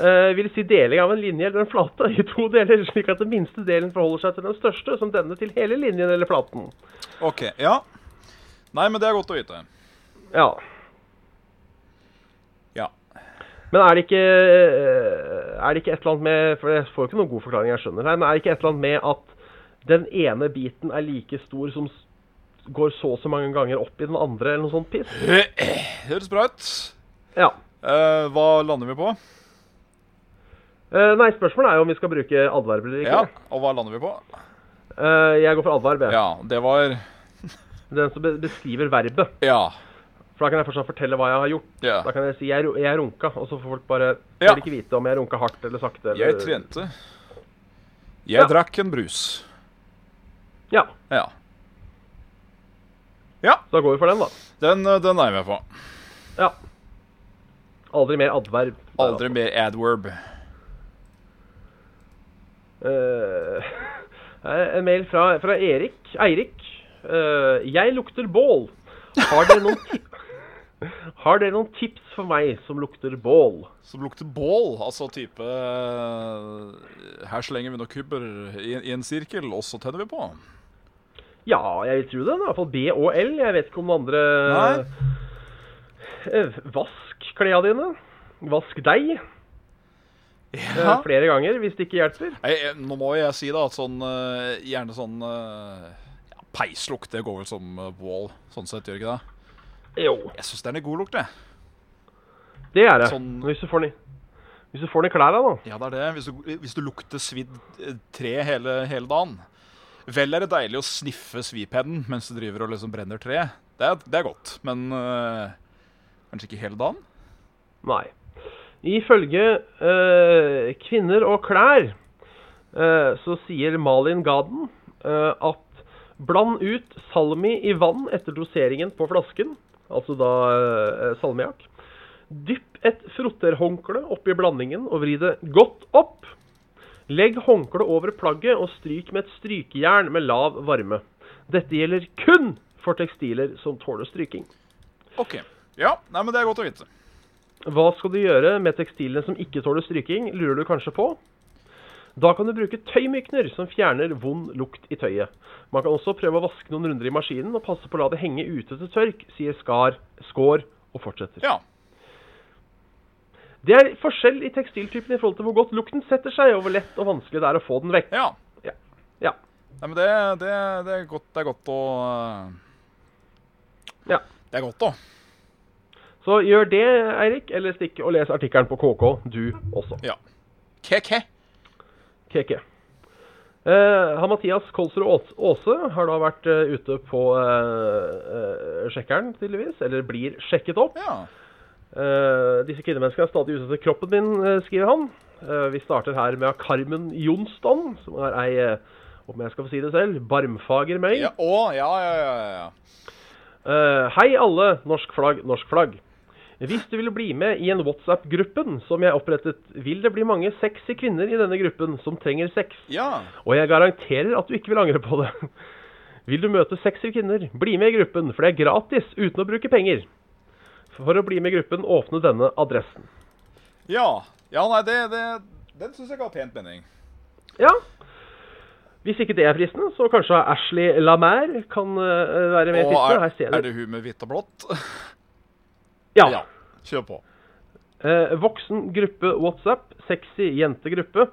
B: eh, vil si deling av en linje eller en flate i to deler, slik at den minste delen forholder seg til den største, som denne til hele linjen eller flaten.
C: OK. Ja. Nei, men det er godt å vite.
B: Ja.
C: Ja. <clears throat>
B: Men er det ikke eh, Er det ikke et eller annet med For jeg får jo ikke noen god forklaring, jeg skjønner her, men er det ikke et eller annet med at den ene biten er like stor som s- går så og så mange ganger opp i den andre, eller noe sånt piss?
C: Høres bra ut.
B: Ja.
C: Eh, hva lander vi på?
B: Eh, nei, spørsmålet er jo om vi skal bruke adverb eller ikke.
C: Ja, Og hva lander vi på?
B: Eh, jeg går for adverb, jeg.
C: Ja, det var
B: Den som be beskriver verbet.
C: Ja.
B: For da kan jeg fortsatt fortelle hva jeg har gjort.
C: ja.
B: Da kan jeg si jeg, ru- jeg runka, og så får folk bare
C: Ja.
B: får de ikke vite om jeg runka hardt eller sakte. Eller...
C: Jeg trente. Jeg
B: Ja.
C: drakk en brus.
B: Ja,
C: Ja.
B: så da går vi for den, da.
C: Den, eh, den er jeg med på.
B: Ja. Aldri mer adverb. Der, altså.
C: Aldri mer adverb.
B: Eh, <laughs> en mail fra, fra Erik. Eirik. Eh, jeg lukter bål. Har dere, noen ti <laughs> Har dere noen tips for meg som lukter bål?
C: Som lukter bål, altså type eh, Her slenger vi noen kubber i, i en sirkel, og så tenner vi på.
B: Ja, jeg vil tro det. da. I hvert fall B og L. Jeg vet ikke om noen andre
C: Nei.
B: Eh, Vask klærne dine. Vask deg eh, flere ganger hvis det ikke hjelper.
C: Nei, eh, nå må jeg si da at sånn eh, Gjerne sånn eh, ja, Peislukt, det går vel som eh, bål, sånn sett, gjør ikke det?
B: Jo,
C: Jeg syns det er en god lukt, jeg.
B: det er det.
C: Sånn-
B: Hvis du får den i- hvis du får den i klærne, da.
C: Ja, det er det. Hvis du, hvis du lukter svidd eh, tre hele, hele dagen. Vel er det deilig å sniffe svipennen mens du driver og liksom brenner tre. Det er, det er godt, men eh, kanskje ikke hele dagen?
B: Nei. Ifølge eh, Kvinner og klær eh, så sier Malin Gaden eh, at bland ut salmi i vann etter doseringen på flasken, altså da eh, salmiakk. Dypp et frotterhåndkle oppi blandingen og vri det godt opp. Legg håndkleet over plagget og stryk med et strykejern med lav varme. Dette gjelder kun for tekstiler som tåler stryking.
C: OK. Ja, nei, men det er godt å vite.
B: Hva skal du gjøre med tekstilene som ikke tåler stryking, lurer du kanskje på? Da kan du bruke tøymykner som fjerner vond lukt i tøyet. Man kan også prøve å vaske noen runder i maskinen og passe på å la det henge ute til tørk, sier Skar, Skår og fortsetter.
C: Ja.
B: Det er forskjell i tekstiltypen i forhold til hvor godt lukten setter seg, og hvor lett og vanskelig det er å få den vekk.
C: ja.
B: Ja.
C: Nei, men det, det, det, er, godt, det er godt å eh,
B: Ja.
C: Det er godt, da.
B: Så gjør det, Eirik, eller stikk og les artikkelen på KK, du også.
C: Ke-ke.
B: Keke. Eh, han Mathias Kolsrud Aas- Aase har da vært eh, ute på eh, eh, sjekkeren, tydeligvis. Eller blir sjekket opp.
C: Ja.
B: Eh, disse kvinnemenneskene er stadig ute etter kroppen min, eh, skriver han. Eh, vi starter her med Carmen Jonstan, som er ei, eh, om jeg skal få si det selv, barmfager møy.
C: Ja, å, ja, ja, ja, ja.
B: Eh, hei alle, norsk flagg, norsk flagg. Hvis du vil bli med i en WhatsApp-gruppen som jeg opprettet, vil det bli mange sexy kvinner i denne gruppen som trenger sex.
C: ja.
B: Og jeg garanterer at du ikke vil angre på det. Vil du møte sexy kvinner, bli med i gruppen, for det er gratis uten å bruke penger. For å bli med i gruppen, åpne denne adressen.
C: Ja, ja nei, det, det, den syns jeg ga pent mening.
B: Ja. Hvis ikke det er fristende, så kanskje Ashley Lamer kan eh, være med i
C: Og
B: fristende.
C: er,
B: Her ser
C: er
B: du.
C: <laughs> det hun med hvitt og blått?
B: Ja.
C: Kjør på.
B: Eh, voksen gruppe WhatsApp, sexy jentegruppe.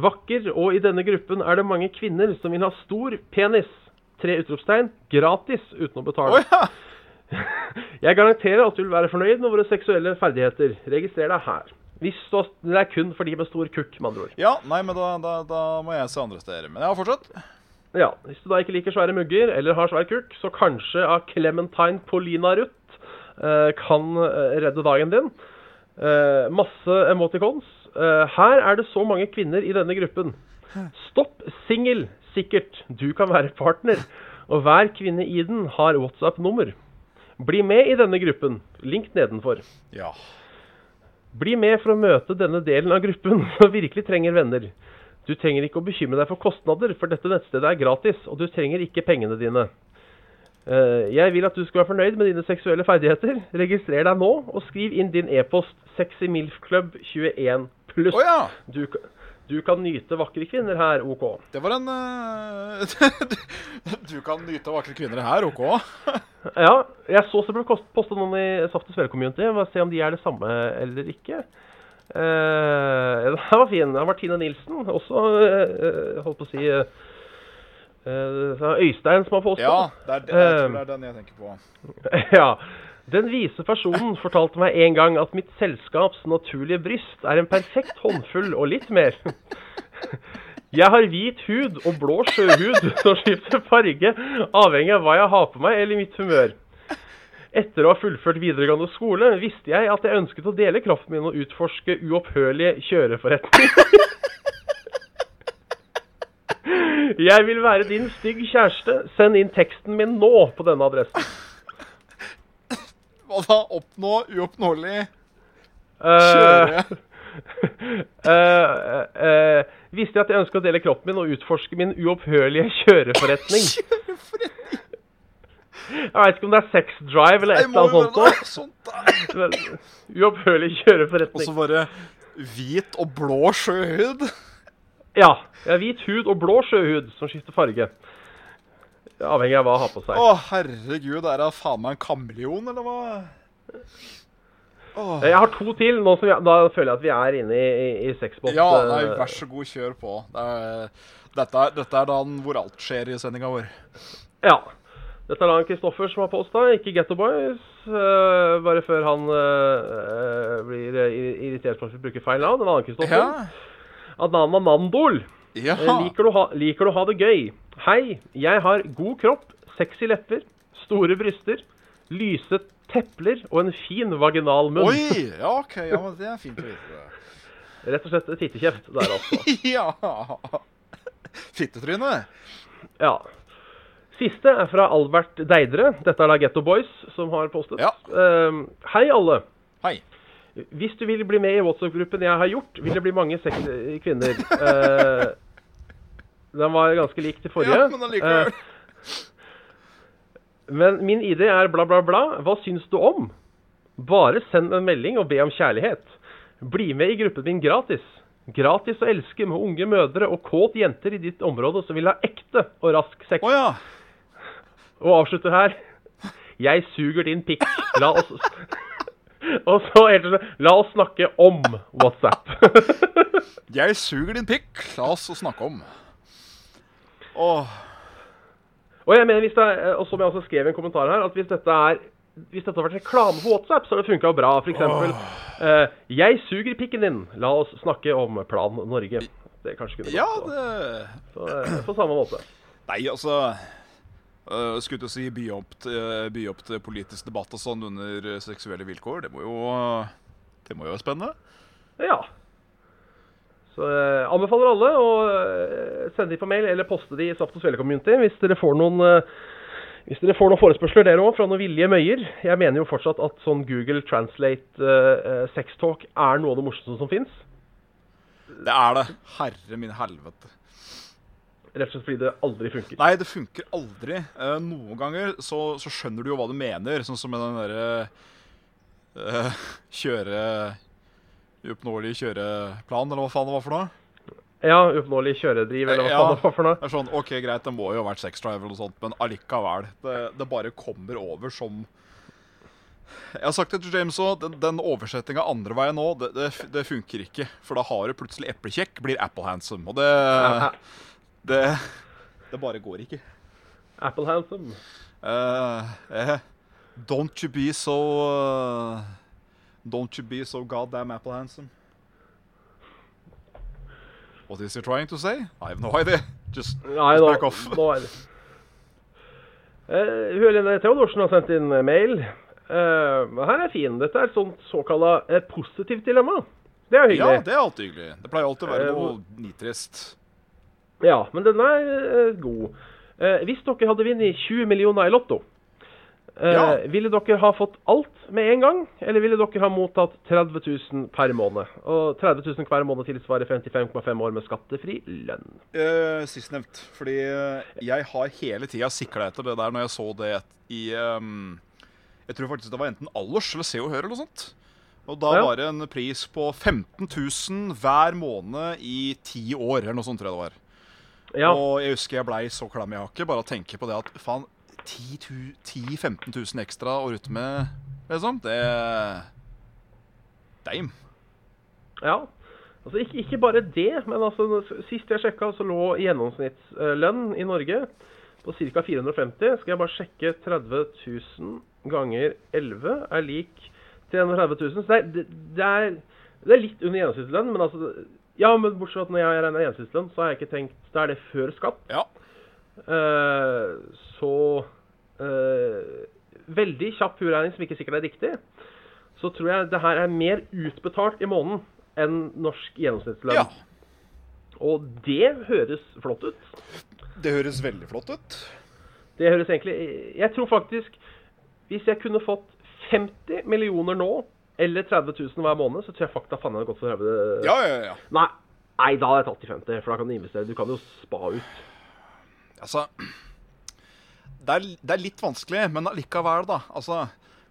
B: Vakker, og i denne gruppen er det mange kvinner som vil ha stor penis. Tre utropstegn. Gratis, uten å
C: Å
B: betale.
C: ja!
B: <laughs> Jeg garanterer at du vil være fornøyd med våre seksuelle ferdigheter. Registrer deg her. Hvis du har, det er kun for de med stor kukk, med andre ord.
C: Ja, nei, men da, da, da må jeg se andre steder. Men ja, fortsett.
B: Ja, Hvis du da ikke liker svære mugger eller har svær kukk, så kanskje av Clementine Polina Ruth eh, kan eh, redde dagen din. Eh, masse emoticons. Eh, her er det så mange kvinner i denne gruppen. Stopp singel, sikkert. Du kan være partner. Og hver kvinne i den har WhatsApp-nummer. Bli med i denne gruppen. Link nedenfor.
C: Ja.
B: Bli med for å møte denne delen av gruppen <laughs> som virkelig trenger venner. Du trenger ikke å bekymre deg for kostnader, for dette nettstedet er gratis, og du trenger ikke pengene dine. Eh, Jeg vil at du skal være fornøyd med dine seksuelle ferdigheter. Registrer deg nå, og skriv inn din e-post sexymilfclub21
C: Å ja!
B: Du, ka- du kan nyte vakre kvinner her, OK.
C: Det var en <laughs> eh, Du kan nyte vakre kvinner her, OK?
B: Ja, jeg så det ble kost- postet noen i Saft og Svele Community. Jeg må se om de er det samme eller ikke. Eh, den her var fin. Det var Tine Nilsen også, eh, eh, holdt på å si eh, eh, det er Øystein som har postet.
C: Ja, det er, det, jeg tror det er den jeg tenker på.
B: <laughs> ja. Den vise personen fortalte meg en gang at mitt selskaps naturlige bryst er en perfekt håndfull og litt mer. <laughs> Jeg har hvit hud og blå sjøhud <laughs> som skifter farge avhengig av hva jeg har på meg eller mitt humør. Etter å ha fullført videregående skole visste jeg at jeg ønsket å dele kraften min og utforske uopphørlige kjøreforretninger. <laughs> Jeg vil være din stygg kjæreste. Send inn teksten min nå på denne adressen.
C: Hva da? Oppnå uoppnåelig
B: Eh,
C: kjøre?
B: eh, eh, visste jeg at jeg ønsket å dele kroppen min og utforske min uopphørlige
C: <laughs>
B: kjøreforretning. Jeg veit ikke om det er sex drive eller et
C: Jeg
B: eller
C: må
B: annet
C: jo
B: sånt.
C: gjøre noe sånt. der.
B: også, men Uopphørlig kjøreforretning.
C: Og så bare hvit og blå sjøhud.
B: Ja. Jeg har hvit hud og blå sjøhud som skifter farge. Avhengig av hva jeg har på seg.
C: Å, herregud, er det faen meg en kameleon, eller hva? Åh.
B: Eh, Jeg har to til, nå som jeg, da føler jeg at vi er inne i, i, i sexbot.
C: Ja, nei,
B: eh,
C: vær så god, kjør på. Det er, dette, er, dette er dagen hvor alt skjer i sendinga vår.
B: Ja. Dette er da Kristoffer som har posta, ikke Getto Boys. eh, bare før han eh, eh, blir eh, ir- irritert for at vi bruker feil navn. En annen Kristoffer.
C: Ja.
B: Adnan Mamandol.
C: ja.
B: Eh, liker, du ha, liker du ha det gøy? Hei, jeg har god kropp, sexy lepper, store bryster, lyse tepler og en fin vaginal munn.
C: Oi! Ja, OK. Ja, men det er fint å vite.
B: <laughs> Rett og slett tittekjeft der, altså.
C: Ja. Fittetryne.
B: Ja. Siste er fra Albert Deidre. Dette er da Getto Boys som har postet.
C: Ja.
B: Eh, hei, alle.
C: Hei.
B: Hvis du vil bli med i WhatsApp-gruppen jeg har gjort, vil det bli mange sex
C: <laughs>
B: kvinner. Eh, den var ganske lik til forrige.
C: Ja, men allikevel.
B: Eh, men min idé er bla, bla, bla. Hva syns du om? Bare send en melding og be om kjærlighet. Bli med i gruppen min gratis. Gratis å elske med unge mødre og kåt jenter i ditt område som vil ha ekte og rask sex.
C: Å ja.
B: Og avslutter her. Jeg suger din pikk. La oss <laughs> Og så helt til slutt, La oss snakke om WhatsApp.
C: Jeg suger din pikk. La oss snakke om. Åh.
B: og jeg mener, hvis det er, eh, og som jeg også skrev i en kommentar her, at hvis dette er hvis dette har vært reklame for WhatsApp, så har det funka bra. For eksempel eh, 'Jeg suger pikken din. La oss snakke om Plan Norge'. Det kanskje kunne
C: Ja,
B: gått på-
C: det
B: på, eh, på samme måte.
C: Nei, altså øh, Skulle til å si by opp, til, øh, by opp til politisk debatt og sånn under øh, seksuelle vilkår. Det må jo øh, Det må jo være spennende.
B: Ja. Så eh, anbefaler alle å eh, sende de på mail eller poste de i Saft og Svele Community hvis dere får noen eh, hvis dere får noen forespørsler dere òg, fra noen villige møyer. Jeg mener jo fortsatt at sånn Google Translate eh, eh, sextalk er noe av det morsomste som fins.
C: Det er det. Herre min helvete.
B: Rett og slett fordi det aldri funker.
C: Nei, det funker aldri. Eh, noen ganger så, så skjønner du jo hva du mener, sånn som med den derre eh, <laughs> Kjøre Uoppnåelig kjøreplan, eller hva faen det var for noe.
B: Ja, uoppnåelig kjøredriv eller hva
C: Ja.
B: faen det var for noe.
C: Det er sånn, OK, greit, det må jo ha vært sexdrive eller noe sånt, men allikevel. Det, det bare kommer over som Jeg har sagt det til James òg, den, den oversettinga andre veien nå, det, det, f- det funker ikke. For da har du plutselig eplekjekk, blir apple handsome. Og det
B: <laughs>
C: Det, det bare går ikke.
B: Apple Handsome.
C: Eh, eh, don't you be so eh, Don't you be so goddamn apple handsome. What is he trying to say? I have no idea. Just,
B: Nei,
C: just
B: nå,
C: back off.
B: nå er det Eh, Hun Helene Theodorsen har sendt inn eh, mail. Eh, her er fin. Dette er et sånt såkalla eh, positivt dilemma. Det er jo
C: Ja,
B: hyggelig.
C: det er alltid hyggelig. Det pleier alltid å
B: Eh,
C: være noe
B: hvor-
C: nitrist.
B: Ja, men den er eh, god. Eh, hvis dere hadde vunnet 20 millioner i Lotto, eh,
C: Ja.
B: ville dere ha fått alt med en gang, eller ville dere ha mottatt 30 000 per måned? Og 30 000 hver måned tilsvarer 55,5 år med skattefri lønn.
C: Uh, Sistnevnt. Fordi eh, jeg har hele tida sikla etter det der når jeg så det et- i ehm, Jeg tror faktisk det var enten Allers eller Se og Hør eller noe sånt. Og da
B: Ja.
C: var det en pris på 15 000 hver måned i ti år, eller noe sånt, tror jeg det var.
B: Ja,
C: Og jeg husker jeg blei så klam i hakket bare av å tenke på det at faen 10 tu- 10 000-15 000 ekstra å rutte med, liksom, det Deim.
B: ja. Altså, ikke, ikke bare det, men altså, sist jeg sjekka, så lå gjennomsnittslønn i Norge på ca. 450. Skal jeg bare sjekke 30 000 ganger 11 er lik 330 000. Så det er, det, det er, det er litt under gjennomsnittslønn, men altså Ja, men bortsett fra at når jeg regner gjennomsnittslønn, så har jeg ikke tenkt Da er det før skatt.
C: Ja.
B: Eh, så eh, Veldig kjapp hoderegning som ikke sikkert er riktig. Så tror jeg det her er mer utbetalt i måneden enn norsk gjennomsnittslønn.
C: ja.
B: Og det høres flott ut.
C: Det høres veldig flott ut.
B: Det høres egentlig Jeg tror faktisk Hvis jeg kunne fått 50 millioner nå, eller 30 000 hver måned, så tror jeg faktisk faen jeg hadde gått for 30
C: Ja, ja, ja.
B: Nei, nei, da hadde jeg tatt de 50, for da kan du investere. Du kan jo spa ut.
C: Altså det er, det er litt vanskelig, men allikevel, da. Altså,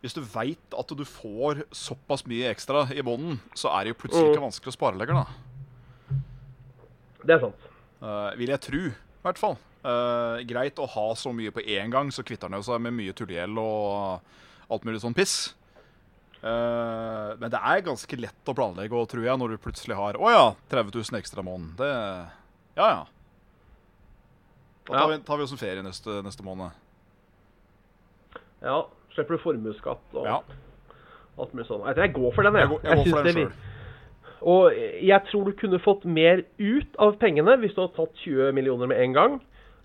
C: hvis du veit at du får såpass mye ekstra i bånden, så er det jo plutselig ikke vanskelig å spare lenger, da.
B: Det er sant.
C: Eh, vil jeg tru, i hvert fall. Eh, greit å ha så mye på én gang, så kvitter han jo seg med mye tullegjeld og alt mulig sånn piss. Eh, men det er ganske lett å planlegge og tror jeg, når du plutselig har Å ja, 30 000 ekstra i måneden. Det Ja, ja. Da tar
B: Ja.
C: vi, tar vi oss en ferie neste, neste måned.
B: Ja. Slipper du formuesskatt og
C: Ja.
B: alt mulig sånn. Jeg går for den, jeg.
C: Jeg går, jeg går for
B: synes
C: den
B: det
C: sjøl.
B: vir- Og jeg tror du kunne fått mer ut av pengene hvis du hadde tatt 20 millioner med en gang,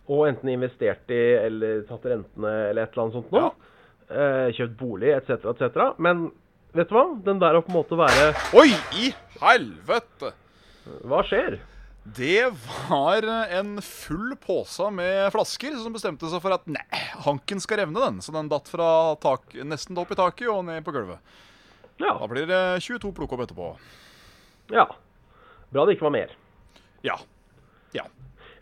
B: og enten investert i eller tatt rentene eller et eller annet sånt nå.
C: Ja.
B: Eh, kjøpt bolig etc., etc. Men vet du hva? Den der å på en måte være
C: Oi, i helvete!
B: Hva skjer?
C: Det var en full pose med flasker som bestemte seg for at nei, hanken skal revne, den. Så den datt fra tak, nesten opp i taket og ned på gulvet.
B: Ja.
C: Da blir det 22 plukk opp etterpå.
B: ja. Bra det ikke var mer.
C: Ja. Ja.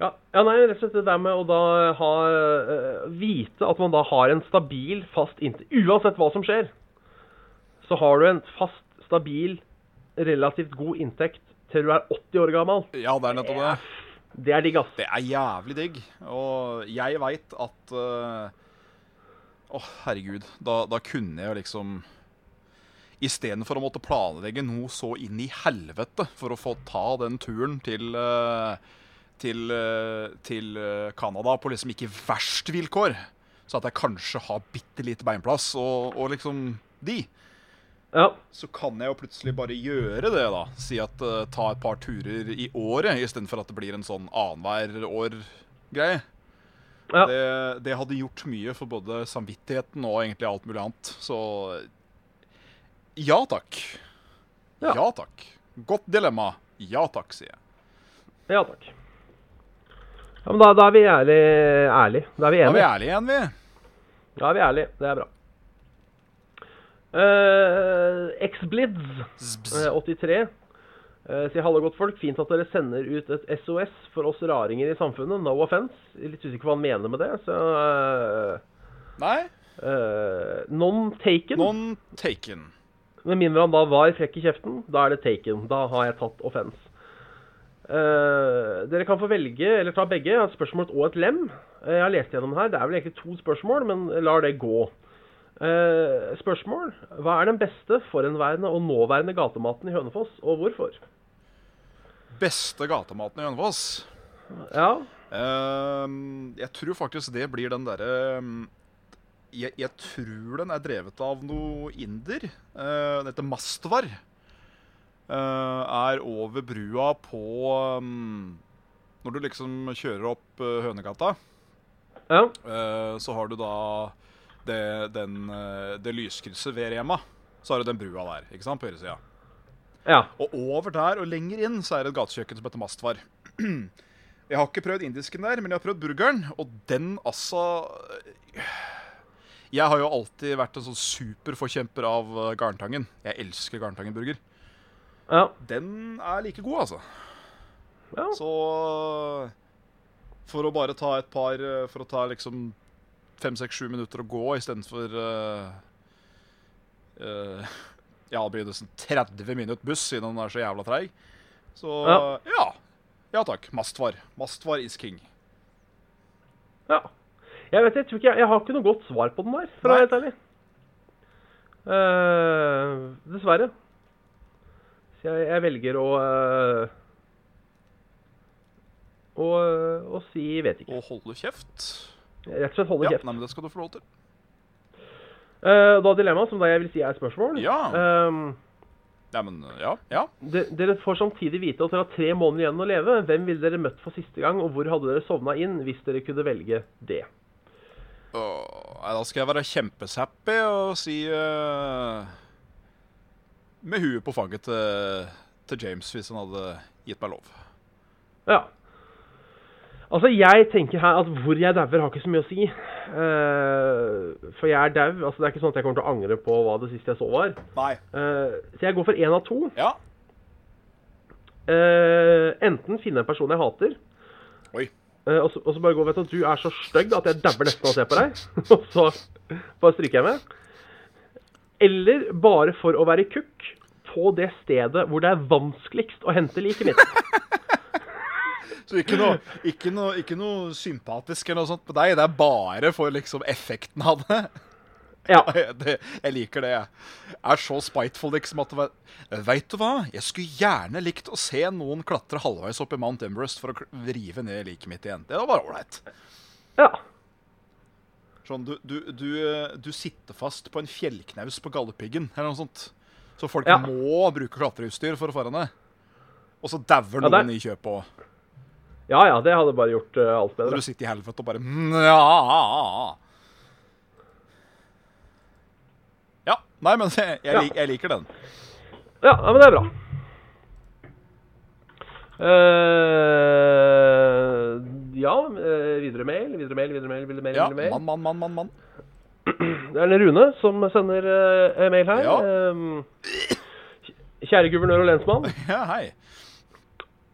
B: Ja, ja nei, rett og slett det der med å da ha, eh, vite at man da har en stabil, fast inntekt Uansett hva som skjer, så har du en fast, stabil, relativt god inntekt til du er 80 år gammel.
C: Ja, det er nettopp det.
B: Det er digg, ass.
C: Det er jævlig digg. Og jeg veit at eh, Å, herregud. Da, da kunne jeg jo liksom Istedenfor å måtte planlegge noe så inn i helvete for å få ta den turen til eh, til, eh, til eh, Canada på liksom ikke verst vilkår, så at jeg kanskje har bitte lite beinplass og, og liksom de,
B: Ja,
C: så kan jeg jo plutselig bare gjøre det, da. Si at eh, ta et par turer i året istedenfor at det blir en sånn annenhver år-greie.
B: ja.
C: Det, det hadde gjort mye for både samvittigheten og egentlig alt mulig annet. Så ja takk. Ja,
B: Ja.
C: takk. Godt dilemma. Ja takk, sier jeg.
B: ja takk. Ja, men da, da er vi ærlig, ærlig. Da er vi
C: Da er vi
B: enige.
C: ærlige igjen, vi.
B: Da er vi ærlig. Det er bra. Uh, Xblitz
C: Zbz.
B: eh, 83 eh, sier hallo, godt folk. Fint at dere sender ut et SOS for oss raringer i samfunnet. No offence. Litt usikker på hva han mener med det, så
C: Nei,
B: eh, eh, Non taken.
C: non taken.
B: Med mindre han da var frekk i kjeften, da er det taken. Da har jeg tatt offens. Eh, dere kan få velge, eller ta begge, Jeg har et spørsmål og et lem. Eh, jeg har lest gjennom her. Det er vel egentlig to spørsmål, men lar det gå. Eh, spørsmål. Hva er den beste forhenværende og nåværende gatematen i Hønefoss, og hvorfor?
C: Beste gatematen i Hønefoss?
B: Ja,
C: Ehm, jeg tror faktisk det blir den derre ehm, jeg, jeg tror den er drevet av noe inder. Eh, Den heter Mastvar. Eh, er over brua på ehm, Når du liksom kjører opp eh, Hønegata,
B: ja,
C: eh, så har du da det, den, eh, det lyskrysset ved Rema. Så har du den brua der, ikke sant, på høyresida.
B: ja.
C: Og over der og lenger inn så er det et gatekjøkken som heter Mastvar. Jeg har ikke prøvd indisken der, men jeg har prøvd burgeren, og den altså Jeg har jo alltid vært en sånn superforkjemper av eh, Garntangen. Jeg elsker Garntangen-burger.
B: ja.
C: Den er like god, altså.
B: Ja.
C: Så for å bare ta et par eh, For å ta liksom fem, seks, sju minutter å gå istedenfor uh, uh, <laughs> Ja, det blir nesten 30 minutter buss siden den er så jævla treig. Så
B: Ja.
C: ja. ja. takk. Mastvar. Mastvar is king.
B: ja. Jeg vet jeg tror ikke, jeg, jeg har ikke noe godt svar på den der, for å være helt ærlig. Eh, dessverre. Så jeg, jeg velger å eh, å, eh, å si vet ikke.
C: Og holde kjeft.
B: Rett og slett holde
C: Ja,
B: kjeft.
C: nei, men det skal du få lov til.
B: Eh, da dilemmaet, som da jeg vil si er spørsmål
C: Ja.
B: Ehm,
C: Nei, men eh, ja. ja.
B: de, Dere får samtidig vite at dere har tre måneder igjen å leve. Hvem ville dere møtt for siste gang, og hvor hadde dere sovna inn hvis dere kunne velge det?
C: Åh, nei, da skal jeg være kjempesappy og si eh, Med huet på fanget til, til James, hvis han hadde gitt meg lov.
B: Ja. Altså, jeg tenker her at hvor jeg dauer, har ikke så mye å si. Eh, for jeg er dau. Altså, det er ikke sånn at jeg kommer til å angre på hva det siste jeg så var.
C: Nei.
B: Eh, så jeg går for én av to.
C: Ja.
B: Eh, enten finne en person jeg hater,
C: Oi.
B: eh, og, så, og så bare gå vet du, at du er så stygg at jeg dauer nesten av å se på deg. <laughs> og så bare stryker jeg med. Eller bare for å være kukk på det stedet hvor det er vanskeligst å hente liket mitt.
C: Så ikke noe, ikke, noe, ikke noe sympatisk eller noe sånt på deg. Det er bare for liksom effekten av det. <laughs>
B: Ja.
C: det jeg liker det. Jeg er så spiteful liksom at det var- Veit du hva? Jeg skulle gjerne likt å se noen klatre halvveis opp i Mount Everest for å kl- rive ned liket mitt igjen. Det var bare ålreit.
B: ja.
C: Sånn, du, du, du, eh, du sitter fast på en fjellknaus på Galdhøpiggen, eller noe sånt. Så folk
B: Ja.
C: må bruke klatreutstyr for å fare ned. Og så dauer
B: Ja,
C: noen
B: det-
C: i kjøpet òg.
B: ja ja, det hadde bare gjort eh, alt
C: Og
B: bedre.
C: du sitter i helvete og bare "Mm, Nja. Ja. Nei, men <laughs> jeg, jeg, lik, jeg liker den.
B: Ja, ja, men det er bra. Eh, ja, eh, videre mail, videre mail, videre mail. videre mail,
C: Ja,
B: videre mail.
C: Mann, mann, mann, mann. <laughs> mann.
B: Det er Rune som sender eh, mail her.
C: Ja.
B: Ehm, kjære guvernør og lensmann.
C: Ja, hei.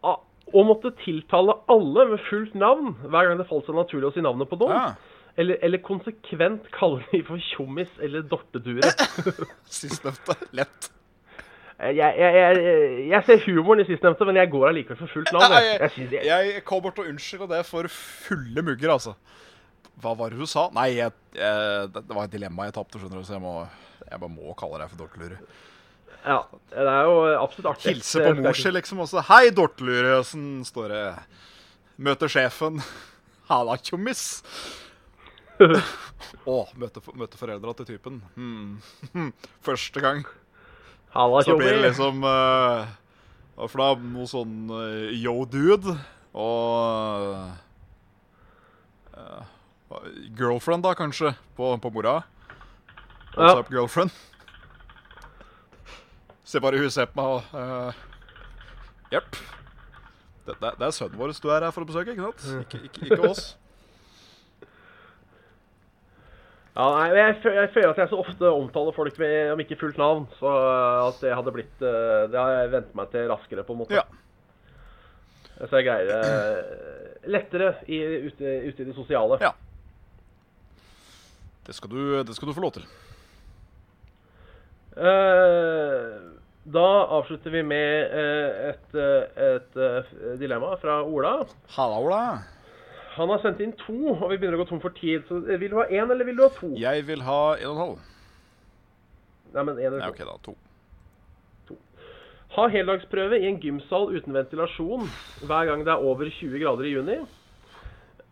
B: Å å måtte tiltale alle med fullt navn hver gang det falt seg naturlig å si navnet på noen,
C: Ja.
B: eller, eller konsekvent kalle de for tjommis eller dortedure.
C: Sistnevnte. Lett.
B: Eh, Jeg, jeg, jeg, jeg ser humoren i sistnevnte, men jeg går allikevel for fullt navn. Jeg, jeg, synes jeg,
C: Jeg kom bort og unnskylde det for fulle mugger, altså. Hva var det du sa? Nei, jeg, jeg, det det var et dilemma jeg tapte, skjønner du, så jeg må, jeg bare må kalle deg for dortelure.
B: ja, det er jo absolutt artig.
C: Hilse på mor si, liksom, og så Hei, dortelure, åssen står det? Møter sjefen. <laughs> Halla, tjommis. Å, møte, fo- møte foreldra til typen. Hmm. <laughs> Første gang.
B: Halla,
C: Så blir det
B: tjommi.
C: liksom eh, og For da noe sånn eh, yo dude og eh, Girlfriend, da, kanskje, på, på mora. What's
B: Ja.
C: up, girlfriend? Se bare hun ser på meg og eh, Jepp. Det, det, det er sønnen vår du er her for å besøke, ikke sant? Ikke, ikke, ikke oss.
B: Ja, nei, men jeg, fø- jeg føler at jeg så ofte omtaler folk med om ikke fullt navn, så at det hadde blitt eh, Det har jeg vent meg til raskere, på en måte.
C: Ja.
B: Så jeg greier det lettere i, ute, ute i det sosiale.
C: Ja. Det skal, du, det skal du få lov til.
B: Eh, da avslutter vi med eh, et, eh, et eh, dilemma fra Ola.
C: Halla, Ola.
B: Han har sendt inn to, og vi begynner å gå tom for tid. Så eh, vil du ha én, eller vil du ha to?
C: Jeg vil ha en og en halv.
B: Nei, men en
C: Nei,
B: eller to.
C: OK, da. To.
B: Ha heldagsprøve i en gymsal uten ventilasjon hver gang det er over 20 grader i juni.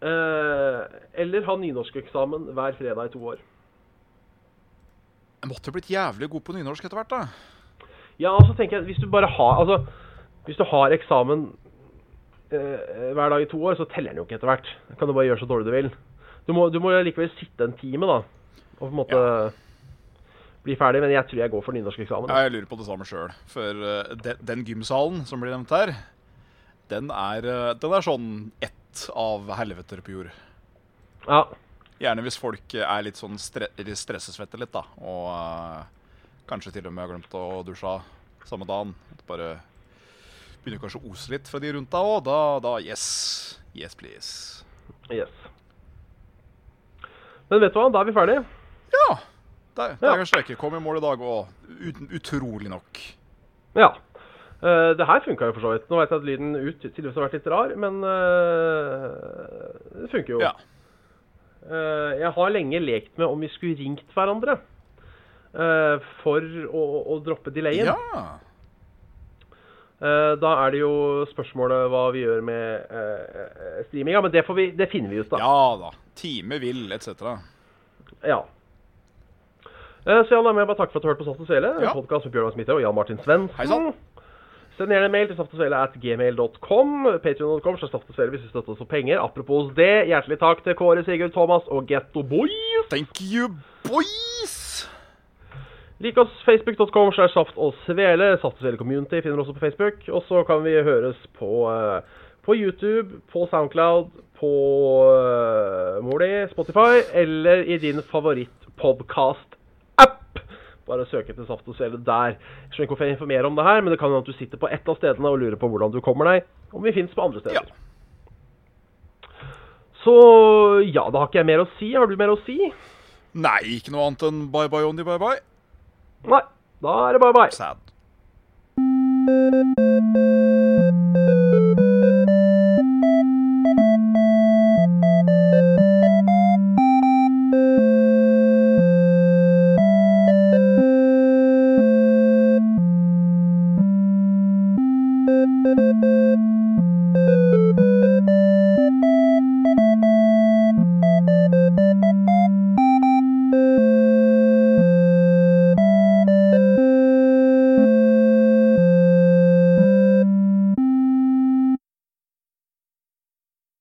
B: Eh, eller ha nynorskeksamen hver fredag i to år.
C: Jeg måtte jo blitt jævlig god på nynorsk etter hvert, da.
B: Ja, og så tenker jeg, hvis du bare har Altså, hvis du har eksamen eh, hver dag i to år, så teller den jo ikke etter hvert. Da kan du bare gjøre så dårlig du vil. Du må, du må likevel sitte en time, da, og på en måte bli ferdig. Men jeg tror jeg går for nynorskeksamen.
C: Ja, jeg lurer på det samme sjøl. For eh, de, den gymsalen som blir nevnt her, den er, eh, den er sånn ett av helveter på jord.
B: Ja.
C: Gjerne hvis folk eh, er litt sånn stre eller stressesvette litt, da. Og eh, kanskje til og med har glemt å dusje samme dagen. At det Bare begynner kanskje å ose litt fra de rundt deg òg. Da, da yes. Yes, please.
B: Yes. Men vet du hva, da er vi ferdige.
C: Ja. Der, der
B: Ja.
C: kan Strøke komme i mål i dag òg. Uten utrolig nok.
B: Ja. Eh, det her funka jo for så vidt. Nå vet jeg at lyden ut tydeligvis har vært litt rar, men eh, det funker jo.
C: Ja.
B: Eh, jeg har lenge lekt med om vi skulle ringt hverandre eh, for å, å droppe delayen.
C: ja.
B: Eh, da er det jo spørsmålet hva vi gjør med uh, streaminga, men det, får vi, det finner vi ut, da.
C: Ja da. Time vil, etc.
B: Ja. Eh, Så ja, da må jeg bare takke for at du hørte på Saft og Svele.
C: Ja.
B: En podcast med Bjørnar Smitte og Jan Martin Svendsen.
C: Hei sann.
B: Send gjerne mail til saftogsvele.gmail.com. Patreon.com så Saft og Svele hvis du støtter oss for penger. Apropos det, hjertelig takk til Kåre, Sigurd, Thomas og Getto Boys.
C: Thank you, boys!
B: Lik oss facebook.com slash saft og svele. Saft og svele community finner du også på Facebook. Og så kan vi høres på, eh, på YouTube, på Soundcloud, på uh, Moli, Spotify eller i din favorittpodkast-app. Bare søk etter Saft og svele der. Jeg skjønner ikke hvorfor jeg informerer om det her, men det kan hende at du sitter på ett av stedene og lurer på hvordan du kommer deg. Om vi finnes på andre steder.
C: Ja.
B: Så ja, da har ikke jeg mer å si. Har du mer å si?
C: Nei, ikke noe annet enn bye bye, Johnny, bye bye.
B: Nei. Da er det bare bye.
C: Sad.
D: Thank